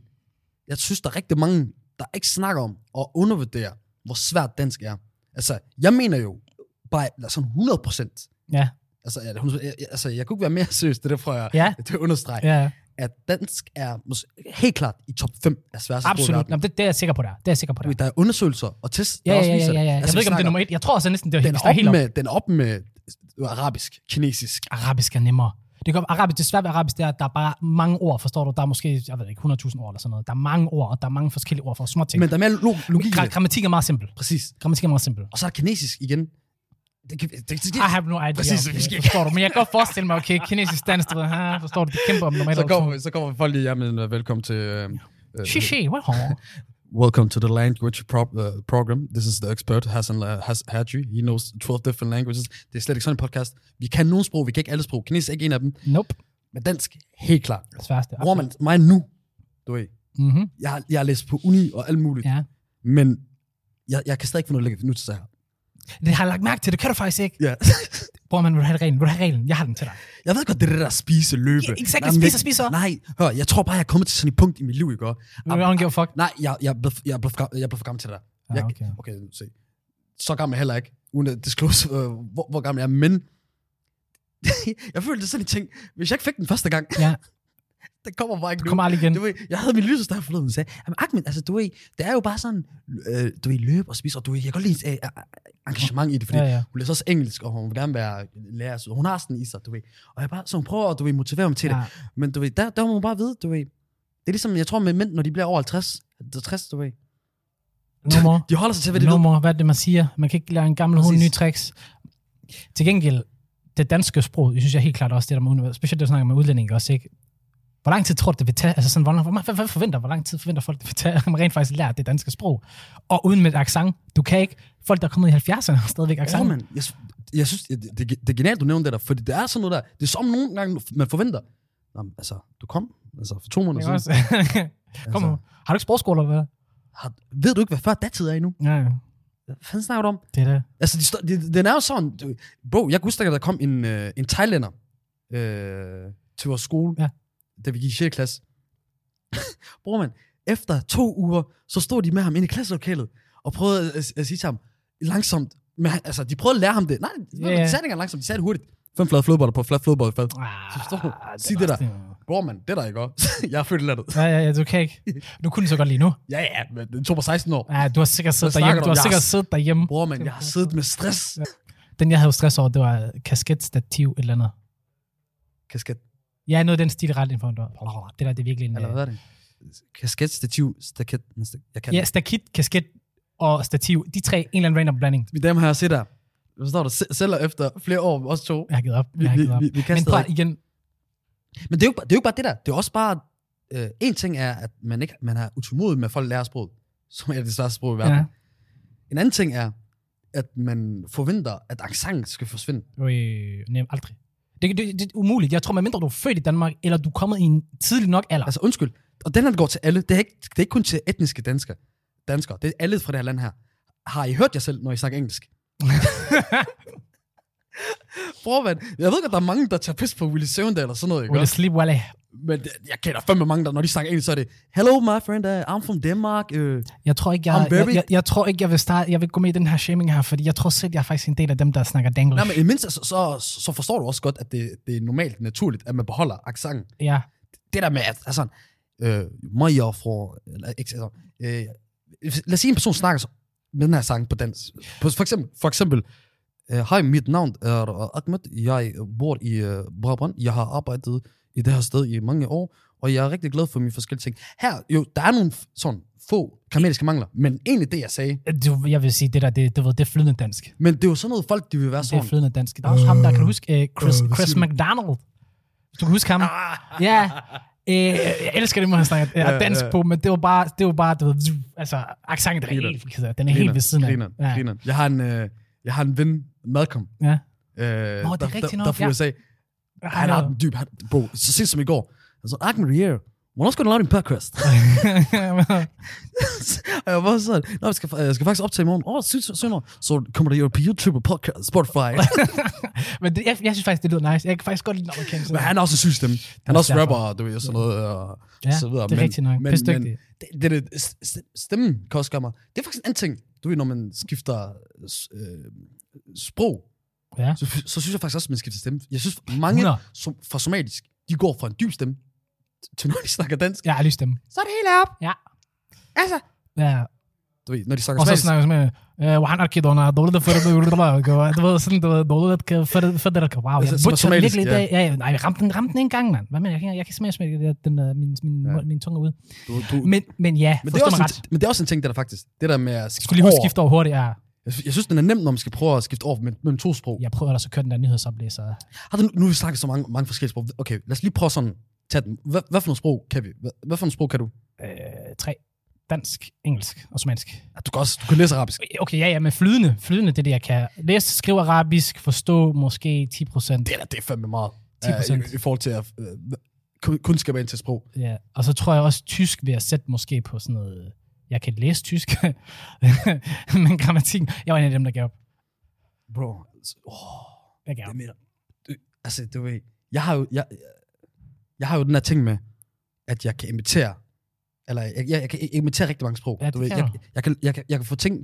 A: jeg synes, der er rigtig mange, der ikke snakker om og undervurderer, hvor svært dansk er. Altså, jeg mener jo bare sådan 100 procent,
B: Ja.
A: Altså, jeg, hun, jeg, jeg- altså, jeg kunne ikke være mere seriøs, det er derfor, jeg
B: Ja.
A: det understreger, ja.
B: Ja,
A: at dansk er mås- helt klart i top 5 af sværeste sprog i
B: absolut. Nå,
A: verden.
B: men det, det, er jeg sikker på, der. Det er jeg sikker på, der.
A: Der er undersøgelser og tests,
B: Ja,
A: der
B: ja,
A: også
B: ja,
A: viser
B: ja, ja. Jeg
A: Altså, vi
B: ved ikke, om det er
A: snakker-
B: nummer et. Jeg tror altså næsten, det er,
A: den
B: vi
A: er,
B: står helt
A: op
B: op.
A: med, den er op med arabisk, kinesisk.
B: Arabisk er nemmere. Det kan arabisk, det svære ved arabisk, det er, at der er bare mange ord, forstår du? Der er måske, jeg ved ikke, 100.000 ord eller sådan noget. Der er mange ord, og der er mange forskellige ord for små ting.
A: Men der er mere log- logik i
B: Gra-
A: det.
B: grammatik er meget simpel.
A: Præcis.
B: Grammatik er meget simpel.
A: Og så er der kinesisk igen. Det, kan, det, det, det,
B: I have no idea.
A: Præcis,
B: okay,
A: vi skal-
B: forstår du? Men jeg kan godt forestille mig, okay, kinesisk dans, du ved, ha, forstår du, de kæmper om normalt.
A: så, kommer, så kommer folk lige, jamen, øh, velkommen til... Øh, øh,
B: Shishi, what home?
A: Welcome to the language pro- uh, program. This is the expert, Hassan uh, Has- Hadji. He knows 12 different languages. Det er slet ikke sådan en podcast. Vi kan nogle sprog, vi kan ikke alle sprog. Kinesisk er ikke en af dem,
B: Nope.
A: men dansk helt klart.
B: Det sværeste.
A: Bruger man mig nu, du ved.
B: Mm-hmm.
A: Jeg, har- jeg har læst på uni og alt muligt, ja.
B: Ja.
A: men jeg, jeg kan stadig ikke finde noget, der nu til sig her.
B: Det har jeg lagt mærke til, det kan du faktisk ikke.
A: Ja.
B: Bruger man, vil du have reglen? Vil du have reglen? Jeg har den til dig.
A: Jeg ved godt, det er det der spise, løbe.
B: Ja, exakt,
A: men-
B: spise og spise.
A: Nej, hør, jeg tror bare, jeg er kommet til sådan et punkt i mit liv i går.
B: We don't give a fuck.
A: Nej, jeg, jeg, blev, jeg, blev, for gam- jeg blev for gammel til det der.
B: Ah,
A: Jeg,
B: okay.
A: okay, nu se. Så gammel er jeg heller ikke, uden at disclose, øh, hvor, hvor gammel jeg er, men jeg følte sådan en ting, hvis jeg ikke fik den første gang,
B: Ja,
A: det kommer bare ikke
B: du
A: nu.
B: kommer aldrig igen.
A: Du ved, jeg havde min lysers der forleden, og sagde, jamen Ahmed, altså du ved, det er jo bare sådan, øh, du ved, løb og spise, og du ved, jeg kan godt lide hendes, øh, øh, engagement i det, fordi
B: Ja, ja.
A: hun læser også engelsk, og hun vil gerne være lærer, så hun har sådan i sig, du ved. Og jeg bare, så hun prøver, du ved, motivere mig til det.
B: Ja.
A: Men du ved, der, der må man bare vide, du ved. Det er ligesom, jeg tror med mænd, når de bliver over 50, 60, du ved.
B: No more.
A: De holder sig til, hvad de
B: No
A: ved.
B: more, hvad er det, man siger? Man kan ikke lære en gammel hund
A: Præcis.
B: nye tricks. Til gengæld, det danske sprog, det synes jeg helt klart også, det der med universet, specielt det, du snakker med udlændinge også, ikke? Hvor lang tid tror du, det vil tage? Altså sådan, hvor, lang- hvor, meget- hvad, hvad forventer, hvor lang tid forventer folk, det vil tage, at man rent faktisk lærer det danske sprog? Og uden med et accent, du kan ikke. Folk, der er kommet i 70'erne, har stadigvæk accent.
A: Ja, man. Jeg, sy- jeg synes, det, det, det er genialt, du nævner det der, fordi det er sådan noget der, det er som nogle gange, man forventer. Nå, men, altså, du kom, altså for to måneder
B: Ikke
A: siden.
B: også? Kom nu.
A: Altså,
B: Har du ikke sprogskole eller hvad?
A: har, ved du ikke, hvad før datid er endnu?
B: Ja, ja.
A: Hvad fanden snakker du om?
B: det er det.
A: Altså, de, står- de, den er jo sådan, du, bro, jeg kan huske, at der kom en, øh, en thailænder øh, til vores skole,
B: Ja.
A: da vi gik i 6. klasse. Bror, man, efter to uger, så stod de med ham inde i klasselokalet, og prøvede at, at, at sige til ham, langsomt, men han, altså, de prøvede at lære ham det. Nej,
B: Ja,
A: yeah.
B: ja.
A: de sagde det ikke engang langsomt, de sagde det hurtigt. Fem flade flodboller på flad flodbold, fad.
B: Ah,
A: forstår du?
B: er
A: Sig det
B: også
A: Bror, man, det er der ikke også. jeg er født i landet.
B: Ja, ja, ja, du kan ikke. Du kunne det så godt lige nu.
A: Ja, ja, men det tog mig 16 år.
B: Ja, du har sikkert siddet
A: Hvad snakker
B: derhjemme.
A: du
B: Du
A: om? Jeg
B: har
A: har
B: sikkert
A: s-
B: siddet derhjemme.
A: Bror, man, jeg har siddet med stress.
B: Den, jeg havde stress over, det var kasketstativ et eller andet.
A: Kasket,
B: Ja, noget af den stil ret inden for en dør. Brr, Det der, det er virkelig en...
A: eller
B: øh,
A: hvad er det? kasketstativ, staket, jeg kan
B: Ja, stakit, kasket og stativ. De tre, en eller anden random blanding.
A: Vi damer her sidder, hvad står der, Se- sælger efter flere år, os to.
B: Jeg har givet op.
A: Vi-
B: Jeg har
A: vi-
B: givet op.
A: vi- vi kan
B: Men prøv
A: stadig-
B: igen.
A: Men det er, jo, bare- det er jo ikke bare det der. Det er også bare, øh, en ting er, at man, ikke, man er utålmodig med, at folk lærer sproget, som er det største sprog i verden.
B: Ja.
A: Ja. En anden ting er, at man forventer, at accent skal forsvinde.
B: Øh, nej, aldrig. Det, det, det, er umuligt. Jeg tror, medmindre du er født i Danmark, eller du er kommet i en tidlig nok alder.
A: Altså undskyld. Og den her den går til alle. Det er ikke, det er ikke kun til etniske danskere. Danskere. Det er alle fra det her land her. Har I hørt jer selv, når I snakker engelsk? Forvand, jeg ved godt, der er mange, der tager pis på Willy Søvendal eller sådan noget, ikke?
B: Will you
A: også?
B: sleep well?
A: Men det- jeg kender fandme mange, der, når de snakker engelsk, så er det, Hello, my friend, uh, I'm from Denmark. Uh,
B: Jeg tror ikke, jeg,
A: I'm
B: jeg,
A: very-
B: jeg, jeg, tror ikke, jeg vil starte, jeg vil gå med i den her shaming her, fordi jeg tror selv, jeg er faktisk en del af dem, der snakker danglish.
A: nej, men i det mindste, så, så, så, forstår du også godt, at det, det er normalt naturligt, at man beholder accenten.
B: Ja.
A: det der med, at altså, øh, mig og fra, eller ikke, altså, øh, lad os sige, en person snakker så- med den her sang på dansk. På, for eksempel, for eksempel øh, hej, mit navn er øh, Ahmed, jeg bor i øh, Brabant, jeg har arbejdet i det her sted i mange år, og jeg er rigtig glad for mine forskellige ting. Her, jo, der er nogle f- sådan få grammatiske mangler, men egentlig det, jeg sagde,
B: Du, jeg vil sige, det der, det, du ved, det er flydende dansk.
A: men det er jo sådan noget, folk de vil være
B: Det er
A: sådan.
B: flydende dansk. Der er også ham, der kan du huske, øh, Chris,
A: øh, hvad
B: Chris
A: siger
B: McDonald. Hvis Du kan huske ham. Ja, øh, jeg elsker det, må han snakker ja,
A: Ja,
B: dansk
A: ja.
B: på, men det var bare, det var bare, du ved, zzz, altså, accenten er
A: Griner.
B: helt, den er helt ved siden af.
A: griner,
B: ja.
A: griner. Jeg har en, øh, jeg har en ven, Malcolm,
B: Ja.
A: Øh, der,
B: er rigtigt
A: der,
B: nok,
A: der fra
B: ja.
A: USA. Han
B: er-
A: har den dyb, han, bro, så sent som i går. Han sagde, Ahmed Rier, hvornår skal du lave din podcast? og jeg var sådan, Nå, jeg skal, jeg skal faktisk optage i morgen. Åh, oh, synes Så kommer der jo på YouTube og podcast, Spotify.
B: men det, jeg, jeg, synes faktisk, det lyder nice. Jeg kan faktisk godt lide den amerikanske.
A: men han er også en syg stemme. Han
B: er
A: er også
B: derfor.
A: rapper, du ved, og sådan noget. Og
B: Ja,
A: så videre.
B: det er rigtigt nok.
A: Men, men,
B: Pisdygtig.
A: det, det, det, st- st- stemmen kan også gøre mig. Det er faktisk en anden ting. Du ved, når man skifter øh, sprog,
B: Ja.
A: så, så synes jeg faktisk også, at man skifter stemme. Jeg synes, mange
B: 100.
A: som, fra somalisk, de går fra en dyb stemme til når de snakker dansk.
B: Jeg har lyst til dem.
A: Så er det helt op.
B: Ja.
A: Altså.
B: Ja.
A: Du ved, når de snakker
B: Og så
A: somalisk.
B: snakker jeg med, øh, "Wahan arkid, og når jeg er dårlig, for det, du ved, sådan, du ved, dårlig, for det, for det, wow, jeg
A: Altså, som er
B: butcher den
A: somalisk,
B: virkelig i
A: ja.
B: dag. Ja, ja, nej, ramte den, ramte den en gang, mand. Hvad mener jeg? Jeg kan- Jeg kan simpelthen smække det der- den, øh, min, min,
A: Ja.
B: min tunge ud.
A: Du, du, men,
B: Men, men ja,
A: men, det er
B: forstår
A: også
B: mig ret.
A: en, men det er også en ting, der er faktisk. Det der med at
B: Jeg
A: skifte
B: skulle lige huske
A: over.
B: skifte over hurtigt. Ja.
A: Jeg, sy- jeg synes, den er nem, når man skal prøve at skifte over mellem, mellem to sprog. Ja.
B: Jeg prøver ellers at køre den der nyhedsoplæser.
A: Har du, nu har vi snakket så mange, mange forskellige sprog. Okay, lad os lige prøve sådan tage den. Hvad, hvad for nogle sprog kan vi? Hvad, hvad for nogle sprog kan du?
B: Øh, tre. Dansk, engelsk, osmansk.
A: Ja, Du kan også du kan læse arabisk.
B: Okay, ja, ja, men flydende. Flydende, det er det, jeg kan. Læse, skrive arabisk, forstå måske 10 procent.
A: Det er da det er fandme meget.
B: 10%.
A: Uh, i, I forhold til at uh, kun, kun skal være ind til sprog.
B: Ja. Og så tror jeg også tysk ved at sætte måske på sådan noget... Jeg kan læse tysk, men grammatikken... Jeg var en af dem, der gav op.
A: Bro, oh,
B: Jeg gav
A: jeg
B: op.
A: mener, du, altså du ved, jeg har jo, jeg, jeg har jo den her ting med, at jeg kan imitere, eller jeg, jeg, jeg kan imitere rigtig mange sprog.
B: Ja, det
A: du ved,
B: kan
A: jeg,
B: du.
A: jeg, kan, jeg, kan, jeg kan få ting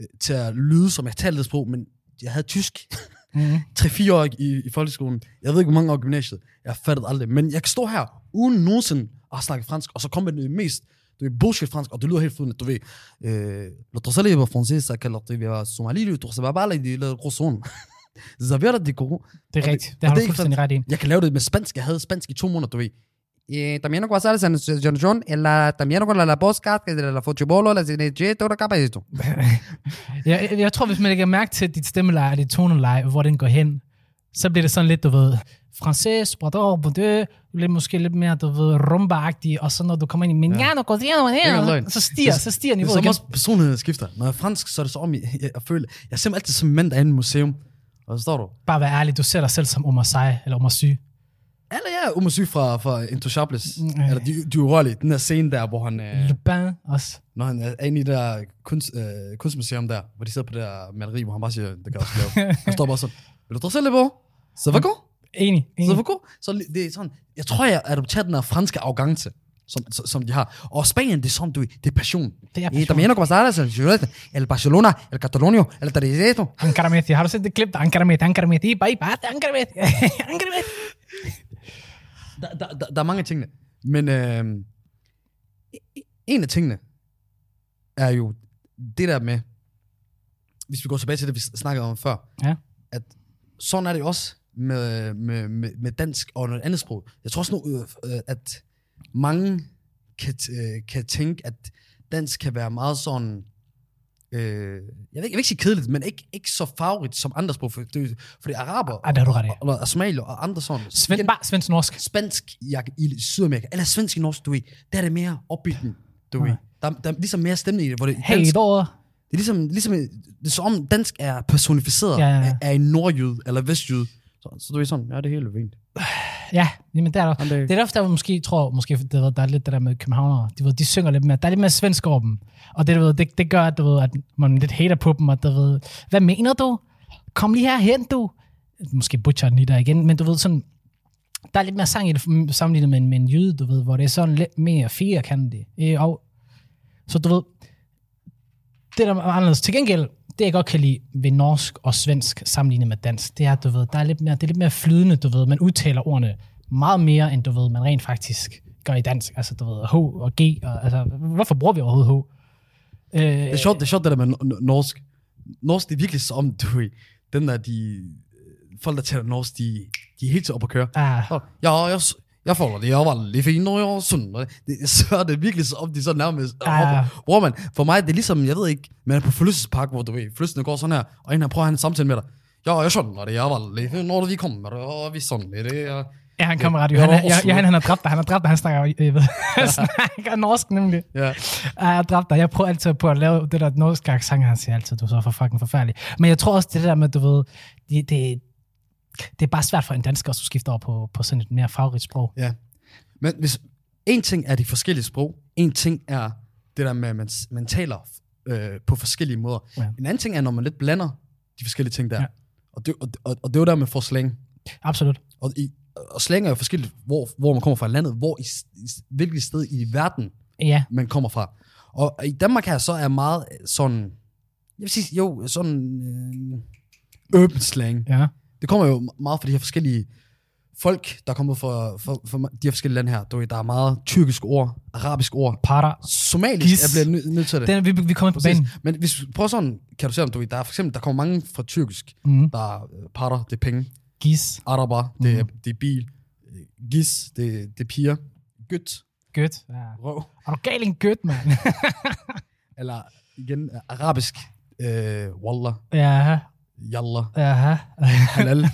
A: øh, til at lyde, som jeg talte det sprog, men jeg havde tysk
B: Mm-hmm.
A: 3-4 år i, i folkeskolen. Jeg ved ikke, hvor mange år i gymnasiet. Jeg fattede aldrig. Men jeg kan stå her, uden nogensinde at snakke fransk, og så komme med det mest du ved, bullshit fransk, og det lyder helt flydende. Du ved, øh, le trossel er français, så kan det være somali, le trossel er bare lidt le grosson. Zavera de gros.
B: Det er
A: Og
B: rigtigt.
A: det-
B: Det har
A: og det
B: du
A: er ikke
B: fuldstændig ret i.
A: Jeg kan lave det med spansk. Jeg havde spansk i to måneder, du ved. Eh, también Guasales en John John, en la, también con la, la podcast, que de la Fochibolo, la Cineche, todo lo capa esto.
B: Jeg, jeg, jeg tror, hvis man lægger mærke til dit stemmeleje og dit toneleje, hvor den går hen, så bliver det sådan lidt, du ved, francais, bordeaux, bordeaux, lidt måske lidt mere, du ved, rumba og så når du kommer ind i Mignano,
A: er ikke
B: ja.
A: løgn.
B: så stiger, så
A: Det
B: stiger
A: er
B: niveauet
A: som
B: igen.
A: også personligheden skifter. Når jeg er fransk, så er det så om, jeg, jeg, jeg føler, jeg er simpelthen altid som en mand, der er i en museum. Og så står du,
B: Bare vær ærlig, du ser dig selv som Omar Sy, eller Omar Sy.
A: Eller ja, Omar Sy fra, fra Intouchables.
B: Mm,
A: Mm,
B: ja.
A: Eller de, de urørlige. Den der scene der, hvor han, øh,
B: Lupin også.
A: når han er inde i det der kunst, øh, kunstmuseum der, hvor de sidder på det der maleri, hvor han bare siger, det kan jeg også lave. han står bare sådan, vil du dresse lidt på? Så var god.
B: Mm. Enig,
A: Så
B: enig.
A: var god. Så li- det er sådan, jeg tror, jeg adopterer den der franske arrogance, som, som, som de har. Og Spanien, det er sådan, du, ved, det er passion.
B: Det er
A: Eh, También como sabes, el Girona, el Barcelona, el Catalonio, el Tarjeto.
B: Ankara Messi. Har du set det klip? der er Ankara Messi, Ankara Messi, bare i bare, Ankara Messi, Ankara Messi.
A: Der, der, der, der er mange af tingene. Men øh, en af tingene er jo det der med, hvis vi går tilbage til det, vi snakkede om før,
B: Ja.
A: at sådan er det jo også med, med, med, med dansk og noget andet sprog. Jeg tror også nu, øh, øh, at mange kan, øh, kan tænke, at dansk kan være meget sådan... Øh, jeg, vil, ikke- jeg vil ikke sige kedeligt, men ikke, ikke så farverigt som andre sprog. For, det, er jo- fordi araber
B: Ej, det har du ret i.
A: og, og, og somalier og andre sådan...
B: Svend, bare svensk norsk.
A: spansk i, i Sydamerika, eller svensk i norsk, du ved, der er det mere opbygning, du ved. Der, der er ligesom mere stemning i det, hvor det,
B: Hey,
A: dansk,
B: et år.
A: det er ligesom, ligesom det er som om dansk er personificeret
B: Ja,
A: ja,
B: ja, ja.
A: ja. af en nordjyde eller vestjyde. Så, så du er sådan, ja, det er helt fint.
B: Ja, jamen der er der.
A: Jamen, det-
B: Det er der ofte, der, hvor man måske tror, måske det, ved, der er lidt det der med københavnere. De, ved, de synger lidt mere. Der er lidt mere svensk over dem. Og det, du ved, det, det gør, at, du ved, at man lidt hater på dem. Og du ved, hvad mener du? Kom lige herhen, du. Måske butcher den lige der igen. Men du ved sådan, der er lidt mere sang i det mm, sammenlignet med en, med en jyde, du ved, hvor det er sådan lidt mere firkantet. Øh, og, så du ved, det der er anderledes. Til gengæld, det jeg godt kan lide ved norsk og svensk sammenlignet med dansk, det er, at du ved, der er lidt mere, det er lidt mere flydende, du ved. Man udtaler ordene meget mere, end du ved, man rent faktisk gør i dansk. Altså, du ved, H og G. Og, altså, hvorfor bruger vi overhovedet H? Øh,
A: Det er sjovt, det, er sjovt, det der med no- no- norsk. Norsk, det er virkelig som, du ved, den der, de, folk, der taler norsk, de, de er helt til op at køre.
B: Ah,
A: Så, Ja, jeg, s- jeg folder det, jeg var lidt fin, og jeg var sund. og Det, så er det virkelig så om, de så nærmest
B: Ja.
A: ja. Bror, man, for mig, det er ligesom, jeg ved ikke, man er på forlystelsespark, hvor du ved, forlystelsen går sådan her, og en her prøver at have en samtale med dig. Ja, jeg sund, og det jeg var lidt fin, når vi kommer, og vi sådan lidt. Det, og...
B: ja, han kommer ret.
A: Ja,
B: Han, er-
A: Norsk.
B: ja, han, han har dræbt dig. Han har dræbt dig. Han snakker, øh, ved, han snakker norsk nemlig.
A: Ja.
B: Ej, jeg dræbte dig. Jeg prøver altid på at lave det der norske accent, han siger altid, du er så for fucking forfærdelig. Men jeg tror også, det der med, du ved, det, det, det er bare svært for en dansker at skulle skifte over på, på sådan et mere farverigt sprog.
A: Ja. Men hvis en ting er de forskellige sprog, en ting er det der med, at man, s- man taler øh, på forskellige måder.
B: Ja.
A: Ja. En anden ting er, når man lidt blander de forskellige ting der.
B: Ja.
A: Ja. Og, det, og, og, og det er jo der, man får slang.
B: Absolut.
A: Og, i, og slang er jo forskelligt, hvor, hvor man kommer fra i landet, hvor i, s- i, s- hvilket sted i verden
B: Ja,
A: man kommer fra. Og i Danmark her så er meget øh, sådan, jeg vil sige, jo, sådan øh, urban slang.
B: ja.
A: Det kommer jo meget fra de her forskellige folk, der kommer fra, fra, fra de her forskellige lande her. Du ved, der er meget tyrkiske ord, arabiske ord,
B: Parter.
A: somalisk,
B: Gis.
A: jeg bliver nø- nødt til det.
B: Den, vi, vi kommer på banen.
A: Præcis. Men hvis vi prøver sådan, kan du se om du ved, der er for eksempel, der kommer mange fra tyrkisk.
B: Mhm.
A: Der er øh, parter, det er penge.
B: Gis.
A: Araber, det, er,
B: Mhm.
A: det er bil. Øh, Gis, det, det er piger. Gødt,
B: Gødt. Ja.
A: røv.
B: Er du gal i en gødt, mand?
A: Eller igen, øh, arabisk. Øh, wallah,
B: ja,
A: yallah,
B: ja.
A: halal,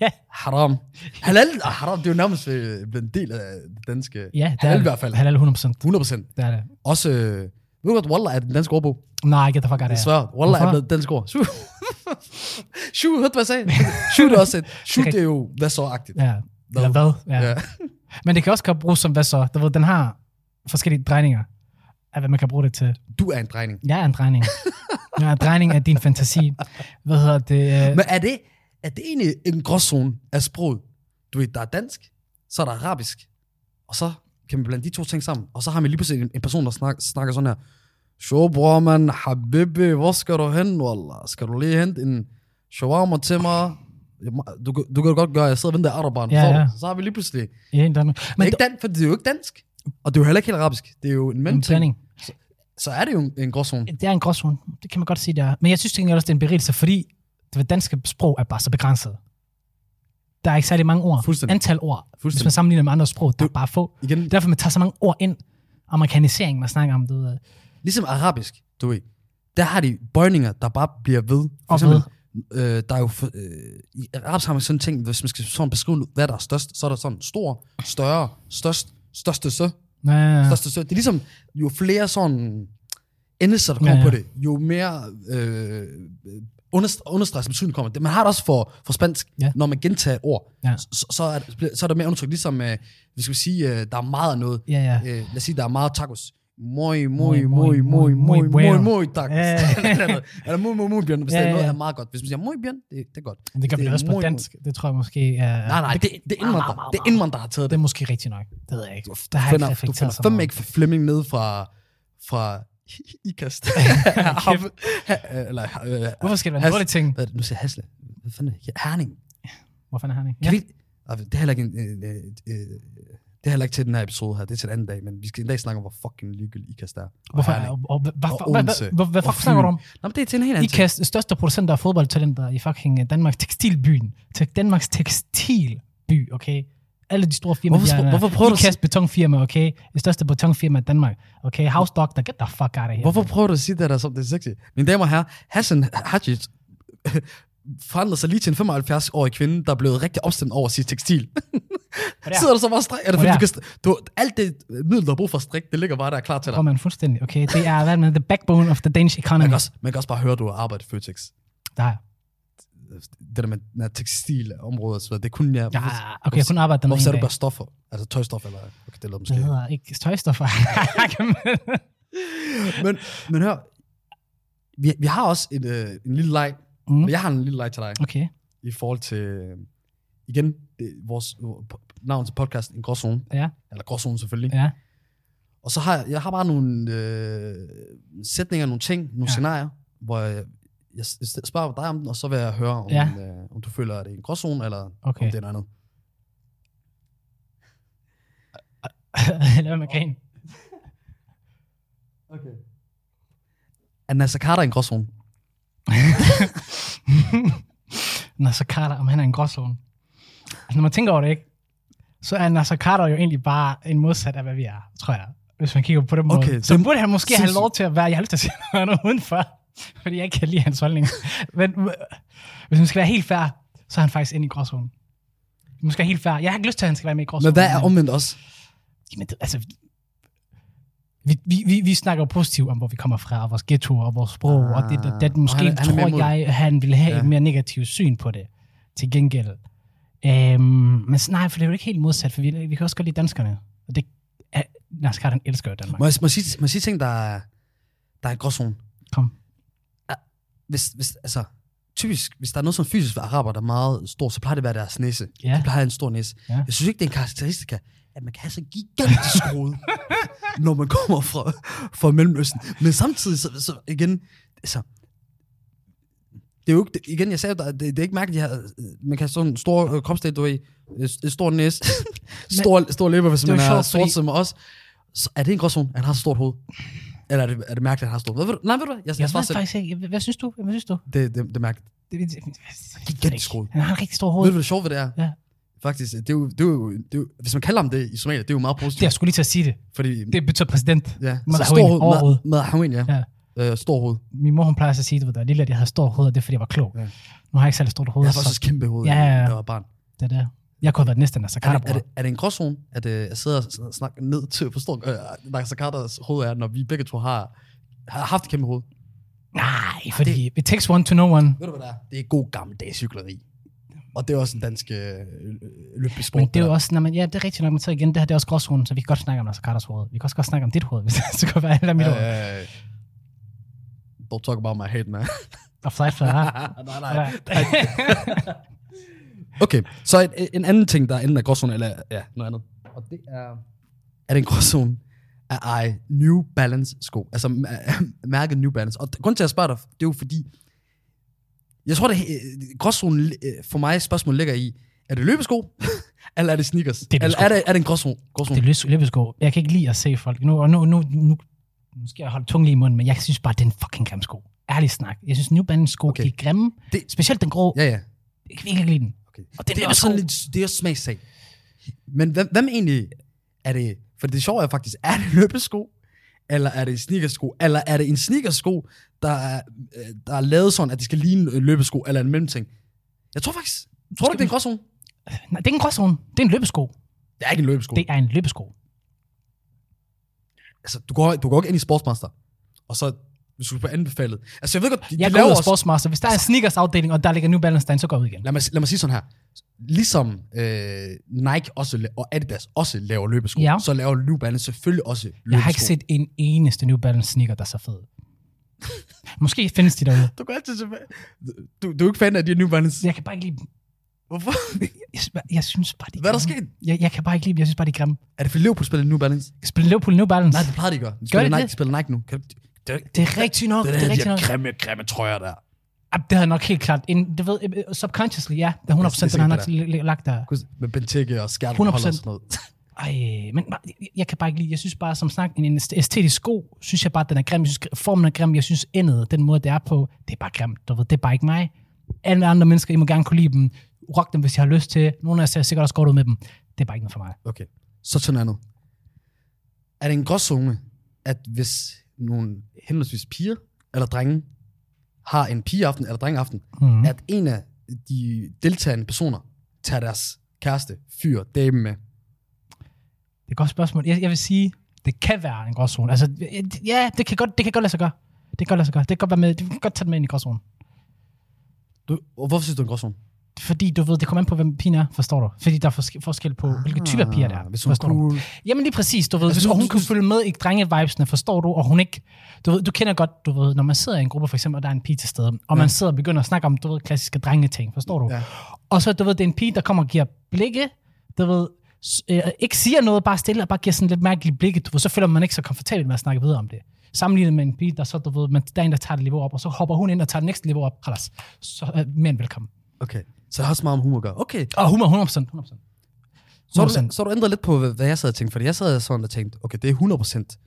B: ja.
A: haram. Halal og haram, det er jo nærmest øh, blevet en del af det danske.
B: Ja, det er
A: halal
B: det.
A: i hvert fald.
B: Halal 100%.
A: 100
B: Det er det.
A: Også, øh, ved du godt, Wallah er den danske ordbog?
B: Nej, jeg gætter fuck out
A: Det
B: af
A: er svært. Wallah
B: Hvorfor?
A: er blevet dansk ord. Shu. Shu, hørte du, hvad jeg sagde? Shu, det er også et. Shu, det er jo hvad så-agtigt.
B: Ja. Eller hvad? Ja.
A: Ja.
B: Men det kan også godt bruges som hvad så? Du ved, den har forskellige drejninger af, hvad man kan bruge det til.
A: Du er en drejning.
B: Jeg er en drejning. Jeg er en drejning af din fantasi. Hvad hedder det? Øh,
A: Men er det, er det egentlig en gråzone af sproget? Du ved, der er dansk, så er der arabisk, og så kan man blande de to ting sammen. Og så har man lige pludselig en, en person, der snak, snakker sådan her. Sjo, bror, man, habibi, hvor skal du hen, wallah? Skal du lige hente en shawarma til mig? Jamen, Du, kan- du kan godt gøre, jeg sidder og venter i araberen.
B: Ja,
A: Ja,
B: ja.
A: ja. Så har vi lige pludselig... Men
B: Ja, en drejning.
A: det
B: Men
A: er, ikke dan, for det er jo ikke dansk, og det er jo heller ikke helt arabisk. Det er jo en
B: en
A: mellemting.
B: drejning.
A: Så er det jo en, en gråzone.
B: Det er en gråzone. Det kan man godt sige, det er. Men jeg synes egentlig også, det er en berigelse, fordi det danske sprog er bare så begrænset. Der er ikke særlig mange ord.
A: Fuldstændig.
B: Antal ord. Hvis
A: Fuldstændig.
B: man sammenligner med andre sprog, der er bare få.
A: Igen,
B: Derfor man tager så mange ord ind. Amerikanisering, man snakker om, du ved.
A: Ligesom arabisk, du ved. Der har de bøjninger, der bare bliver ved. For
B: Og
A: eksempel, øh, der er jo, for- øh, I arabisk har man sådan en ting, hvis man skal sådan beskrive, hvad der er størst, så er der sådan stor, større, størst, største sø,
B: Ja, ja, ja.
A: største sø. Det er ligesom, jo flere sådan endelser, der kommer
B: Ja,
A: ja, ja.
B: ja.
A: på det, jo mere øh, underst- understreget betydning kommer det. Man har det også for, for spansk,
B: Ja.
A: ja. når man gentager ord.
B: Ja.
A: Så, så, er, det- så er der mere undertryk, ligesom, øh, vi skal sige, øh, der er meget af noget.
B: Ja, ja.
A: Øh, lad os sige, der er meget tacos. Muy,
B: Muy,
A: muy,
B: muy,
A: muy, muy,
B: muy
A: muy, Eh. muy,
B: bueno.
A: muy tacos.
B: Ja, ja.
A: Eller- Eller muy, muy, eh, muy bjørn. Hvis
B: Ja,
A: det
B: ja,
A: er noget,
B: ja.
A: er meget godt. Hvis man siger muy bjørn, det, det er godt.
B: Men det gør vi
A: er
B: også på
A: muy,
B: dansk. Det tror jeg måske er...
A: muy- Nej, nej, det, det er indvandrer. Det er indvandrer, der har taget
B: Det
A: det.
B: er måske rigtigt nok. Det ved jeg ikke. Der har
A: Du
B: jeg ikke
A: finder, du
B: reflekteret
A: finder
B: så
A: fandme
B: meget.
A: ikke Flemming ned fra, fra Ikast. Eller, øh,
B: Hvorfor skal det være en
A: Has-
B: dårlig ting?
A: hvad er det, nu siger jeg Hasle. Hvad fanden er det? Herning.
B: Hvor fanden er han ikke?
A: Kan vi, Ej, det er heller ikke en, øh, øh, øh, det er heller ikke til den her episode her, det er til en anden dag, men vi skal en dag snakke om, hvor fucking lykkelig Ikast er. Og
B: Hvorfor?
A: Herning.
B: og- og- hvad-
A: Og
B: hvad- hvad-
A: Odense.
B: hvad- Hvad
A: Og
B: fuck snakker du om?
A: Nå, men det er til en helt
B: I
A: anden ting.
B: kast største producenter af fodboldtalenter i fucking øh, Danmarks tekstilbyen. Til Danmarks tekstilby, okay? alle de store firmaer,
A: Hvorfor-
B: de er-
A: hvorfor prøver du
B: de
A: at
B: kaster betonfirma, okay? Det største betonfirma i Danmark. Okay, House Doctor, get the fuck out of here.
A: Hvorfor prøver du at sige det der, som det er sexy? Mine damer og herrer, Hassan Hadjit forandrede sig lige til en 75-årig kvinde, der er blevet rigtig opstemt over sit tekstil. Sidder du så bare og strik? Er det fordi,
B: Hvor
A: du
B: der?
A: kan st- du, alt det middel, du har brug for at strikke, det ligger bare der klar til dig.
B: Prøver man fuldstændig, okay? Det er, hvad med, the backbone of the Danish
A: Man
B: economy.
A: kan, også, man kan også bare høre, at du har arbejdet i Føtex.
B: Der,
A: Det der med den her tekstilområde, og så videre, det kunne jeg...
B: ja, okay, jeg kunne arbejde den
A: Hvorfor
B: ene
A: sagde du
B: dag.
A: bare stoffer? Altså tøjstoffer, eller... Okay, det lyder måske...
B: Det øh, hedder ikke tøjstoffer.
A: men, men hør, vi, vi har også en, øh, en lille leg.
B: Mm.
A: Mm. Jeg har en lille leg til dig.
B: okay,
A: i forhold til, øh, igen, det, vores øh, po- navn til podcasten, en gråzone,
B: ja,
A: eller gråzone selvfølgelig. Ja.
B: ja.
A: Og så har jeg, jeg har bare nogle øh, sætninger, nogle ting, nogle
B: Ja.
A: ja. scenarier, hvor jeg, jeg s- spørger dig om den, og så vil jeg høre, om,
B: Ja.
A: ja. øh, om du føler, at det er en gråzone, eller
B: Okay.
A: okay. om det er noget andet.
B: Lad være med at grine.
A: Okay. Er Nasser Carter en gråzone?
B: Nasser Carter, om han er en gråzone. Altså, når man tænker over det, ikke? Så er Nasser Carter jo egentlig bare en modsat af, hvad vi er, tror jeg. Hvis man kigger på den måde.
A: Okay,
B: så
A: det-
B: burde han måske have
A: sindssygt.
B: lov til at være, jeg har lyst til at sige noget andet udenfor, fordi jeg ikke kan lide hans holdning. Men øh, hvis man skal være helt fair, så er han faktisk inde i gråzonen. Man skal være helt fair. Jeg har ikke lyst til, at han skal være med i gråzonen.
A: Men hvad er omvendt også?
B: Jamen, det, altså, vi, vi, vi, vi snakker jo positivt om, hvor vi kommer fra, og vores ghettoer, og vores sprog, ah, og det, det, det
A: og
B: måske
A: han er- han er mere
B: tror
A: imod.
B: jeg, han ville have ja.
A: Ja.
B: et mere negativt syn på det, til gengæld. Øhm, men s- nej, for det er jo ikke helt modsat, for vi, vi kan også godt lide danskerne. Og det er, Lars Karten elsker jo Danmark.
A: Må jeg, må jeg, sige, må jeg sige ting, der er, der er en gråzone?
B: Kom.
A: hvis, hvis, altså, typisk, hvis der er noget som fysisk ved araber, der er meget stor, så plejer det at være deres næse.
B: Ja.
A: Ja. De plejer at have en stor næse.
B: Ja.
A: Ja. Jeg synes ikke, det er en karakteristika, at man kan have så gigantisk hoved, når man kommer fra, fra Mellemøsten. Men samtidig, så, så igen, altså, det er jo ikke, det, igen, jeg sagde jo, det, det er ikke mærkeligt, at de har, øh, man kan have sådan en stor øh, kropsdel, du ved, øh, en stor næse, stor, stor læber, hvis
B: det er
A: man
B: jo
A: er
B: sjovt,
A: sort
B: fordi-
A: som os. Så er det en gråzone, at han har så stort hoved? Eller er det, er det mærkeligt, at han har så stort hoved? Ved du- Nej, ved du hvad? Jeg, jeg,
B: Jeg
A: jeg svarer
B: ved
A: selv.
B: faktisk ikke, hvad, hvad synes du? Hvad synes du?
A: Det, det, det er mærkeligt.
B: Det, det, det,
A: Gigantisk hoved.
B: Han har en rigtig stor
A: Ved
B: hoved.
A: du, hvad det sjove ved det er?
B: Ja.
A: Faktisk, det er, jo, det, er jo, det er jo, hvis man kalder ham det i Somalia, det er jo meget
B: Det,
A: positivt.
B: jeg skulle lige til at sige det.
A: Fordi,
B: Det betyder præsident.
A: ja,
B: Madhawin,
A: stor hoved,
B: overhoved.
A: Mad- Madhawin, ja.
B: Ja.
A: Øh, stor hoved.
B: Min mor, hun plejer at sige, at jeg lille, at jeg havde stor hoved, og det er, fordi jeg var klog.
A: Ja.
B: Nu har jeg ikke særlig stort hoved.
A: Jeg har
B: så-
A: faktisk også kæmpe hoved,
B: Ja, ja, ja.
A: da jeg var barn.
B: Det er det. Jeg kunne have været næsten Nasser
A: Er
B: Carter,
A: det, er,
B: bror.
A: det, er det en gråzone, at øh, jeg sidder og snakker ned til, forstår øh, Nasser Carters hoved er, når vi begge to har, har haft et kæmpe hoved?
B: Nej, fordi det... it takes one to know one.
A: Ved du, hvad det er? Det er god gammeldags cykleri. Og det er også en dansk øh, løbesport.
B: Men det er jo
A: der.
B: også, når man, ja, det er rigtigt nok, men så igen, det her det er også gråzonen, så vi kan godt snakke om Nasser Carters hoved. Vi kan også godt snakke om dit hoved, hvis det skulle være eller mit hoved.
A: Øh, don't talk about my head, man.
B: Og flight for her.
A: nej, nej. Okay, så en, en anden ting, der enten er gråzone, eller ja, noget andet. Og det er... Er det en gråzone at eje New Balance sko? Altså mær- mærket New Balance. Og grunden til, at jeg spørger dig, det er jo fordi... Jeg tror, det øh, gråzonen øh, for mig spørgsmål ligger i, er det løbesko, eller er det sneakers?
B: er løbesko.
A: eller er det, er det en gråzone?
B: Det
A: gråzone?
B: er løs- løbesko. Jeg kan ikke lide at se folk. Nu, og nu, nu, nu, nu skal jeg holde tungen lige i munden, men jeg synes bare, det er en fucking grim sko. Ærligt snak. Jeg synes, New Balance sko, okay.
A: Okay.
B: de er grimme.
A: Det-
B: Specielt den grå. Ja.
A: Ja, ja.
B: Jeg kan virkelig ikke lide den.
A: Okay.
B: Og den
A: det er
B: der
A: også sådan
B: sko.
A: lidt, det er også smagssag. Men hvem, hvem egentlig er det, for det sjove er faktisk, er det løbesko, eller er det en sneakersko, eller er det en sneakersko, der er, øh, der er lavet sådan, at det skal ligne en løbesko, eller en mellemting? Jeg tror faktisk, tror du ikke, det er en gråzone?
B: Nej, det er ikke en gråzone. Det er en løbesko.
A: Det er ikke en løbesko.
B: Det
A: Det.
B: er en løbesko.
A: Altså, du går, du går ikke ind i Sportsmaster, og så, hvis du bliver anbefalet. Altså, jeg ved godt, de,
B: Jeg
A: de
B: går
A: laver
B: ud af
A: også,
B: Sportsmaster. Hvis der er en sneakers afdeling, og der ligger New Balance derinde, så går jeg ud igen.
A: lad, mig, lad mig sige sådan her, ligesom øh, Nike også, la- og Adidas også laver løbesko,
B: Ja.
A: ja. så laver New Balance selvfølgelig også løbesko.
B: Jeg har ikke set en eneste New Balance sneaker, der er så fed. Måske findes de derude.
A: Du går altid tilbage. Du, du er ikke fan af de her New Balance.
B: Jeg kan bare ikke lide dem.
A: Hvorfor?
B: Jeg, synes bare- jeg synes bare, de
A: Hvad er der
B: grimme.
A: sket?
B: Jeg, jeg kan bare ikke lide dem. Jeg synes bare, de er grimme.
A: Er det for Liverpool spiller New Balance?
B: Spiller Liverpool New Balance?
A: Nej,
B: Nej,
A: det plejer de at gøre. De
B: de
A: spiller Nike,
B: det?
A: de spiller Nike nu. Kan du, det, er ikke-
B: det er rigtigt nok.
A: det
B: Det,
A: er
B: er
A: det, de
B: rigtigt
A: her
B: nok.
A: grimme, grimme trøjer der.
B: Ah, det har jeg nok helt klart. En, du ved, øh, øh, subconsciously, ja. Det er 100%
A: Det- det
B: den har jeg
A: er
B: nok l- l- lagt der.
A: Med Benteke og Skjert
B: 100%.
A: og sådan noget.
B: Ej, men bare- jeg- jeg kan bare ikke lide. Jeg synes bare, som snak, en en æstetisk sko, synes jeg bare, den er grim. Jeg synes, formen er grim. Jeg synes, endet, den måde, det er på, det er bare grimt. Du ved, det er bare ikke mig. Alle andre mennesker, I må gerne kunne lide dem. Rock dem, hvis I har lyst til. Nogle af jer ser sikkert også godt ud med dem. det er bare ikke noget for mig.
A: Okay, så til noget andet. Er det en gråzone, at hvis nogle henholdsvis piger eller drenge har en pigeaften eller drengeaften,
B: Mm.
A: mm. at en af de deltagende personer tager deres kæreste, fyr, dame med?
B: Det er et godt spørgsmål. Jeg, jeg vil sige, det kan være en gråzone. Altså, ja, det kan godt, det kan godt lade sig gøre. Det kan godt lade sig gøre. Det kan godt, være med, det kan godt tage det med ind i gråzonen.
A: Du, og hvorfor synes du, det er en gråzone?
B: Fordi du ved, det kommer an på, hvem pigen er, forstår du? Fordi der er forske- forskel på, hvilke typer piger der er.
A: Ah, Hvis hun er
B: forstår du?
A: cool.
B: Jamen lige præcis, du ved,
A: Altså,
B: altså,
A: hvis
B: hvis hun
A: du-
B: kunne følge med i drengevibesene, forstår du, og hun ikke, du ved, du kender godt, du ved, når man sidder i en gruppe for eksempel, og der er en pige til stede, og
A: Ja.
B: man sidder og begynder at snakke om, du ved, klassiske drengeting, forstår du?
A: Ja.
B: Og så, du ved, det er en pige, der kommer og giver blikke, du ved, s- øh, ikke siger noget, bare stille, og bare giver sådan lidt mærkelige blikke, du ved, så føler man ikke så komfortabel med at snakke videre om det. Sammenlignet med en pige, der så, du ved, man, der er en, der tager det niveau op, og så hopper hun ind og tager det næste niveau op, Halas. så øh, mere end velkommen.
A: Okay, så det har også meget om humor at gøre. Okay,
B: Og humor, 100%, 100%.
A: så har, du,
B: 100%.
A: så har du ændret lidt på, hvad- hvad jeg sad og tænkte, fordi jeg sad sådan og tænkte, okay, det er 100%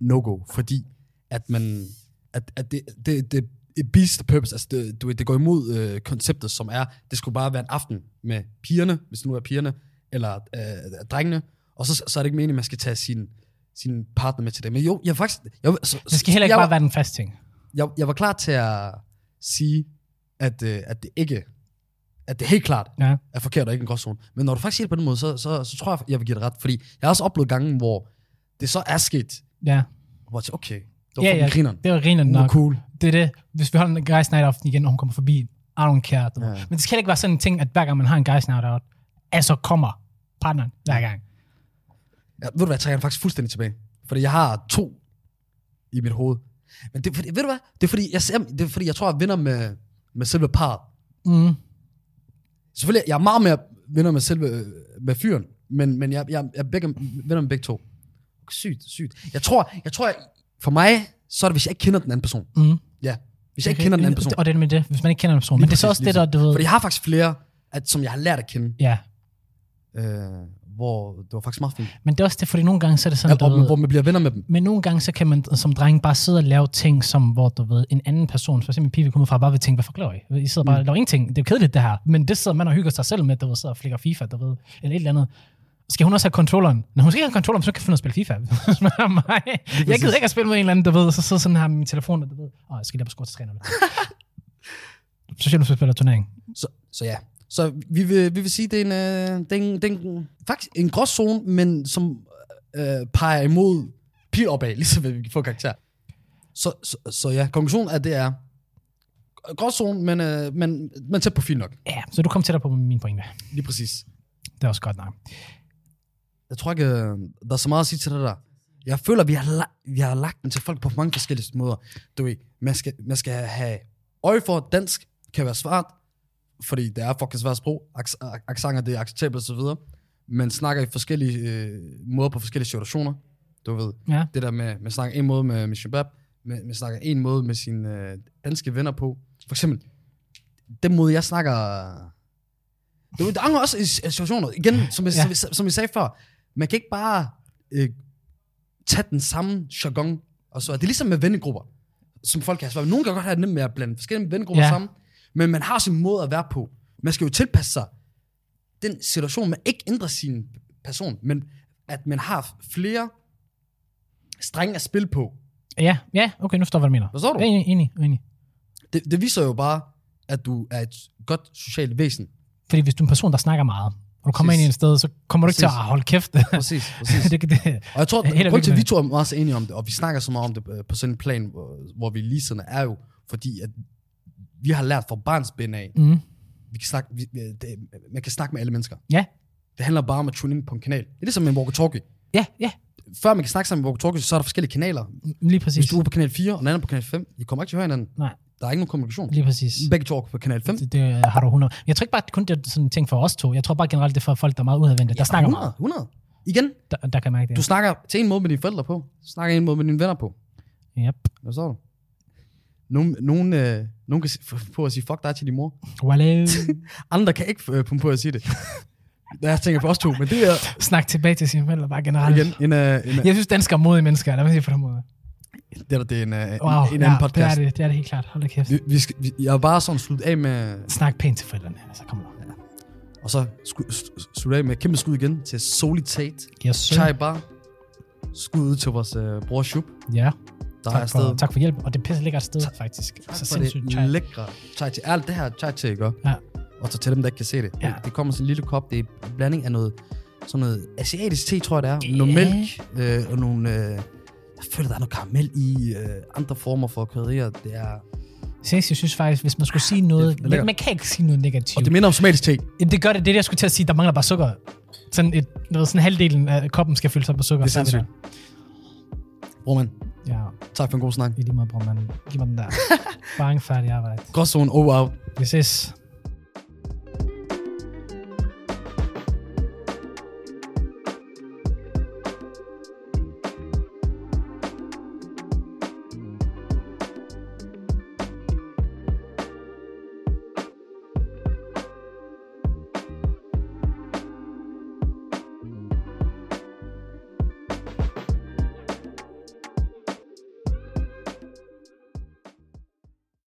A: no-go, fordi at man, at, at det, det, det it beats the purpose, altså det, du ved, det går imod øh, konceptet, som er, det skulle bare være en aften med pigerne, hvis det nu er pigerne, eller øh, drengene, og så, så er det ikke meningen, at man skal tage sin, sin partner med til det. Men jo, jeg er faktisk... Jeg, så,
B: Det skal heller ikke
A: jeg,
B: bare være den fast ting.
A: jeg, jeg var klar til at sige, at, øh, at det ikke, at det helt klart
B: Ja.
A: er forkert og ikke en gråzone. Men når du faktisk siger det på den måde, så, så, så tror jeg, jeg vil give det ret. Fordi jeg har også oplevet gange, hvor det så er sket,
B: Ja.
A: hvor jeg tænkte, okay, det var ja, ja. grineren.
B: Det var rineren
A: Hun var
B: nok.
A: cool.
B: Det er det. Hvis vi holder en guys night aften igen, og hun kommer forbi, I don't care. Du.
A: Ja.
B: Ja. Men det skal heller ikke være sådan en ting, at hver gang man har en guys night out, altså kommer partneren hver gang.
A: Ja, ved du hvad, jeg trækker den faktisk fuldstændig tilbage. Fordi jeg har to i mit hoved. Men det, er fordi, ved du hvad? Det er fordi, jeg, ser, det er fordi, jeg tror, jeg vinder med, med selve parret.
B: Mm.
A: Selvfølgelig, jeg er meget mere venner med selve øh, med fyren, men, men jeg, jeg, jeg er begge, venner med begge to. Sygt, sygt. Jeg tror, jeg tror jeg, for mig, så er det, hvis jeg ikke kender den anden person.
B: Mm.
A: Ja, hvis jeg ikke kender den anden person.
B: Og det er med det, hvis man ikke kender den person.
A: Lige
B: Men det er så
A: præcis,
B: også det, der, du ved...
A: Fordi jeg har faktisk flere, at, som jeg har lært at kende,
B: Ja,
A: øh, hvor det var faktisk meget fint.
B: men det er også det, fordi nogle gange så er det sådan,
A: At,
B: du
A: og, hvor
B: ved,
A: man bliver venner med dem.
B: men nogle gange, så kan man som dreng bare sidde og lave ting, som hvor du ved, en anden person, for eksempel en pige, vi kommer fra, bare vil tænke, hvad forklarer I? I sidder bare og laver ingenting. Det er jo kedeligt, det her. Men det sidder man og hygger sig selv med, du ved, sidder og flikker FIFA, du ved, eller et eller andet. Skal hun også have controlleren? Når hun skal ikke have controlleren, så kan hun finde ud af at spille FIFA. Spørg mig. Jeg gider ikke at spille med en eller anden, du ved, og så sidder sådan her med min telefon, og du ved, åh, jeg skal lige op og score til 3 Så siger du, så spiller turnering.
A: Så, så ja. Så vi vil, vi vil sige, det er en, øh, det er en, det er en faktisk en gråzone, men som øh, peger imod pil opad, ligesom at vi kan få karakter. Så, så, så ja, konklusionen er, det er gråzone, men, øh, men, men tæt på fint nok.
B: Ja, så du kom tættere på min pointe.
A: Lige præcis.
B: Det er også godt nok.
A: Jeg tror ikke, øh, der er så meget at sige til det der. Jeg føler, vi har, la- vi har lagt den til folk på mange forskellige måder. Du ved, man skal, man skal have øje for, at dansk kan være svært, fordi det er fucking svært sprog. Aks- Aksanger, det er acceptabelt osv. Man snakker i forskellige øh, måder på forskellige situationer. Du ved,
B: Ja.
A: det der med, man snakker en måde med, med Shabab, man, man snakker en måde med sine øh, danske venner på. For eksempel, den måde, jeg snakker... Du ved, der er også i s- situationer, igen, som jeg,
B: Ja.
A: ja. som, som jeg sagde før, man kan ikke bare øh, tage den samme jargon, og så det er ligesom med vennegrupper, som folk kan have svært ved. Nogle kan godt have det nemt med at blande forskellige vennegrupper
B: Ja.
A: ja. sammen, men man har sin måde at være på. Man skal jo tilpasse sig den situation, man ikke ændrer sin person, men at man har flere strenge at spille på.
B: Ja, ja, okay, nu forstår jeg, hvad du mener.
A: Forstår du?
B: Ja, enig, enig, enig.
A: Det, det viser jo bare, at du er et godt socialt væsen.
B: Fordi hvis du er en person, der snakker meget, og du kommer
A: Præcis.
B: ind i et sted, så kommer du ikke til at
A: Præcis.
B: "Ah, holde kæft.
A: Præcis, præcis.
B: det, kan- det,
A: Og jeg tror,
B: Held
A: at
B: og
A: grunden til, at vi
B: lykke
A: to er meget så enige om det, og vi snakker så meget om det øh, på sådan en plan, hvor, hvor vi ligesådanne er jo, fordi at vi har lært fra barnsben af,
B: mm,
A: vi kan snakke, vi, øh, det, man kan snakke med alle mennesker.
B: ja,
A: Det handler bare om at tune ind på en kanal. Det er ligesom en walkie-talkie.
B: ja, ja,
A: Før man kan snakke sammen med walkie-talkie, så er der forskellige kanaler.
B: lige
A: Hvis
B: præcis.
A: du er på kanal 4, og den anden er på kanal 5, I kommer ikke til at høre hinanden.
B: Nej,
A: Der er ikke nogen kommunikation.
B: lige præcis.
A: Begge to er på kanal 5.
B: Det, det, øh, har du 100. Jeg tror ikke bare, at kun det er sådan en ting for os to. Jeg tror bare generelt, det er for folk, der er meget udadvendte, der snakker meget,
A: 100, 100. Igen,
B: der, der kan mærke det.
A: du snakker til en måde med dine forældre på, du snakker en måde med dine venner på.
B: Yep.
A: Hvad så du? Nogen, nogen, øh, nogen kan s- f- på at sige fuck dig til din mor.
B: Wale.
A: Andre kan ikke øh, pumpe på at sige det. Jeg tænker på os to, men det er
B: Snak tilbage til sine forældre, bare generelt.
A: igen en, øh, en,
B: Jeg synes, danskere er modige mennesker, lad mig sige på den måde.
A: det er, det er en, øh,
B: Wow,
A: en, en anden
B: ja, det
A: podcast.
B: er det, det er det helt klart. Hold da kæft.
A: Vi, vi skal, vi, jeg er bare sådan slut af med...
B: Snak pænt til forældrene, altså kom nu.
A: Og Og så sku- st- slutte af med et kæmpe skud igen til Solitate.
B: Yes, sir.
A: Chai Bar. Skud ud til vores øh, bror Shub,
B: Ja,
A: der er
B: tak for,
A: afsted.
B: tak for hjælp. Og det er pisse lækkert sted, faktisk.
A: Tak
B: Så
A: for
B: sindssygt
A: det
B: chai.
A: lækre chai til. Alt det her chai til, ikke?
B: Ja.
A: Og så til dem, der ikke kan se det.
B: Ja.
A: Det, det kommer sådan en lille kop. Det er en blanding af noget, sådan noget asiatisk te, tror jeg det er. Yeah. Noget
B: Ja.
A: mælk øh, og nogle... Øh, jeg føler, der er noget karamel i øh, andre former for krydderier. Det er,
B: Seriøst, jeg synes faktisk, hvis man skulle sige noget...
A: det er lækkert.
B: man kan ikke sige noget negativt.
A: og det minder om somatisk te. Det
B: Jamen, det gør det. Det er det, jeg skulle til at sige. Der mangler bare sukker. Sådan, et, noget, sådan halvdelen af koppen skal fyldes op med sukker.
A: er
B: Så vi
A: sindssygt. Brormand,
B: der. Ja,
A: tak for en god snak.
B: i lige måde, bror, man. Giv mig den der. Bang, færdig arbejde.
A: oh, Gråzonen over out.
B: Vi ses.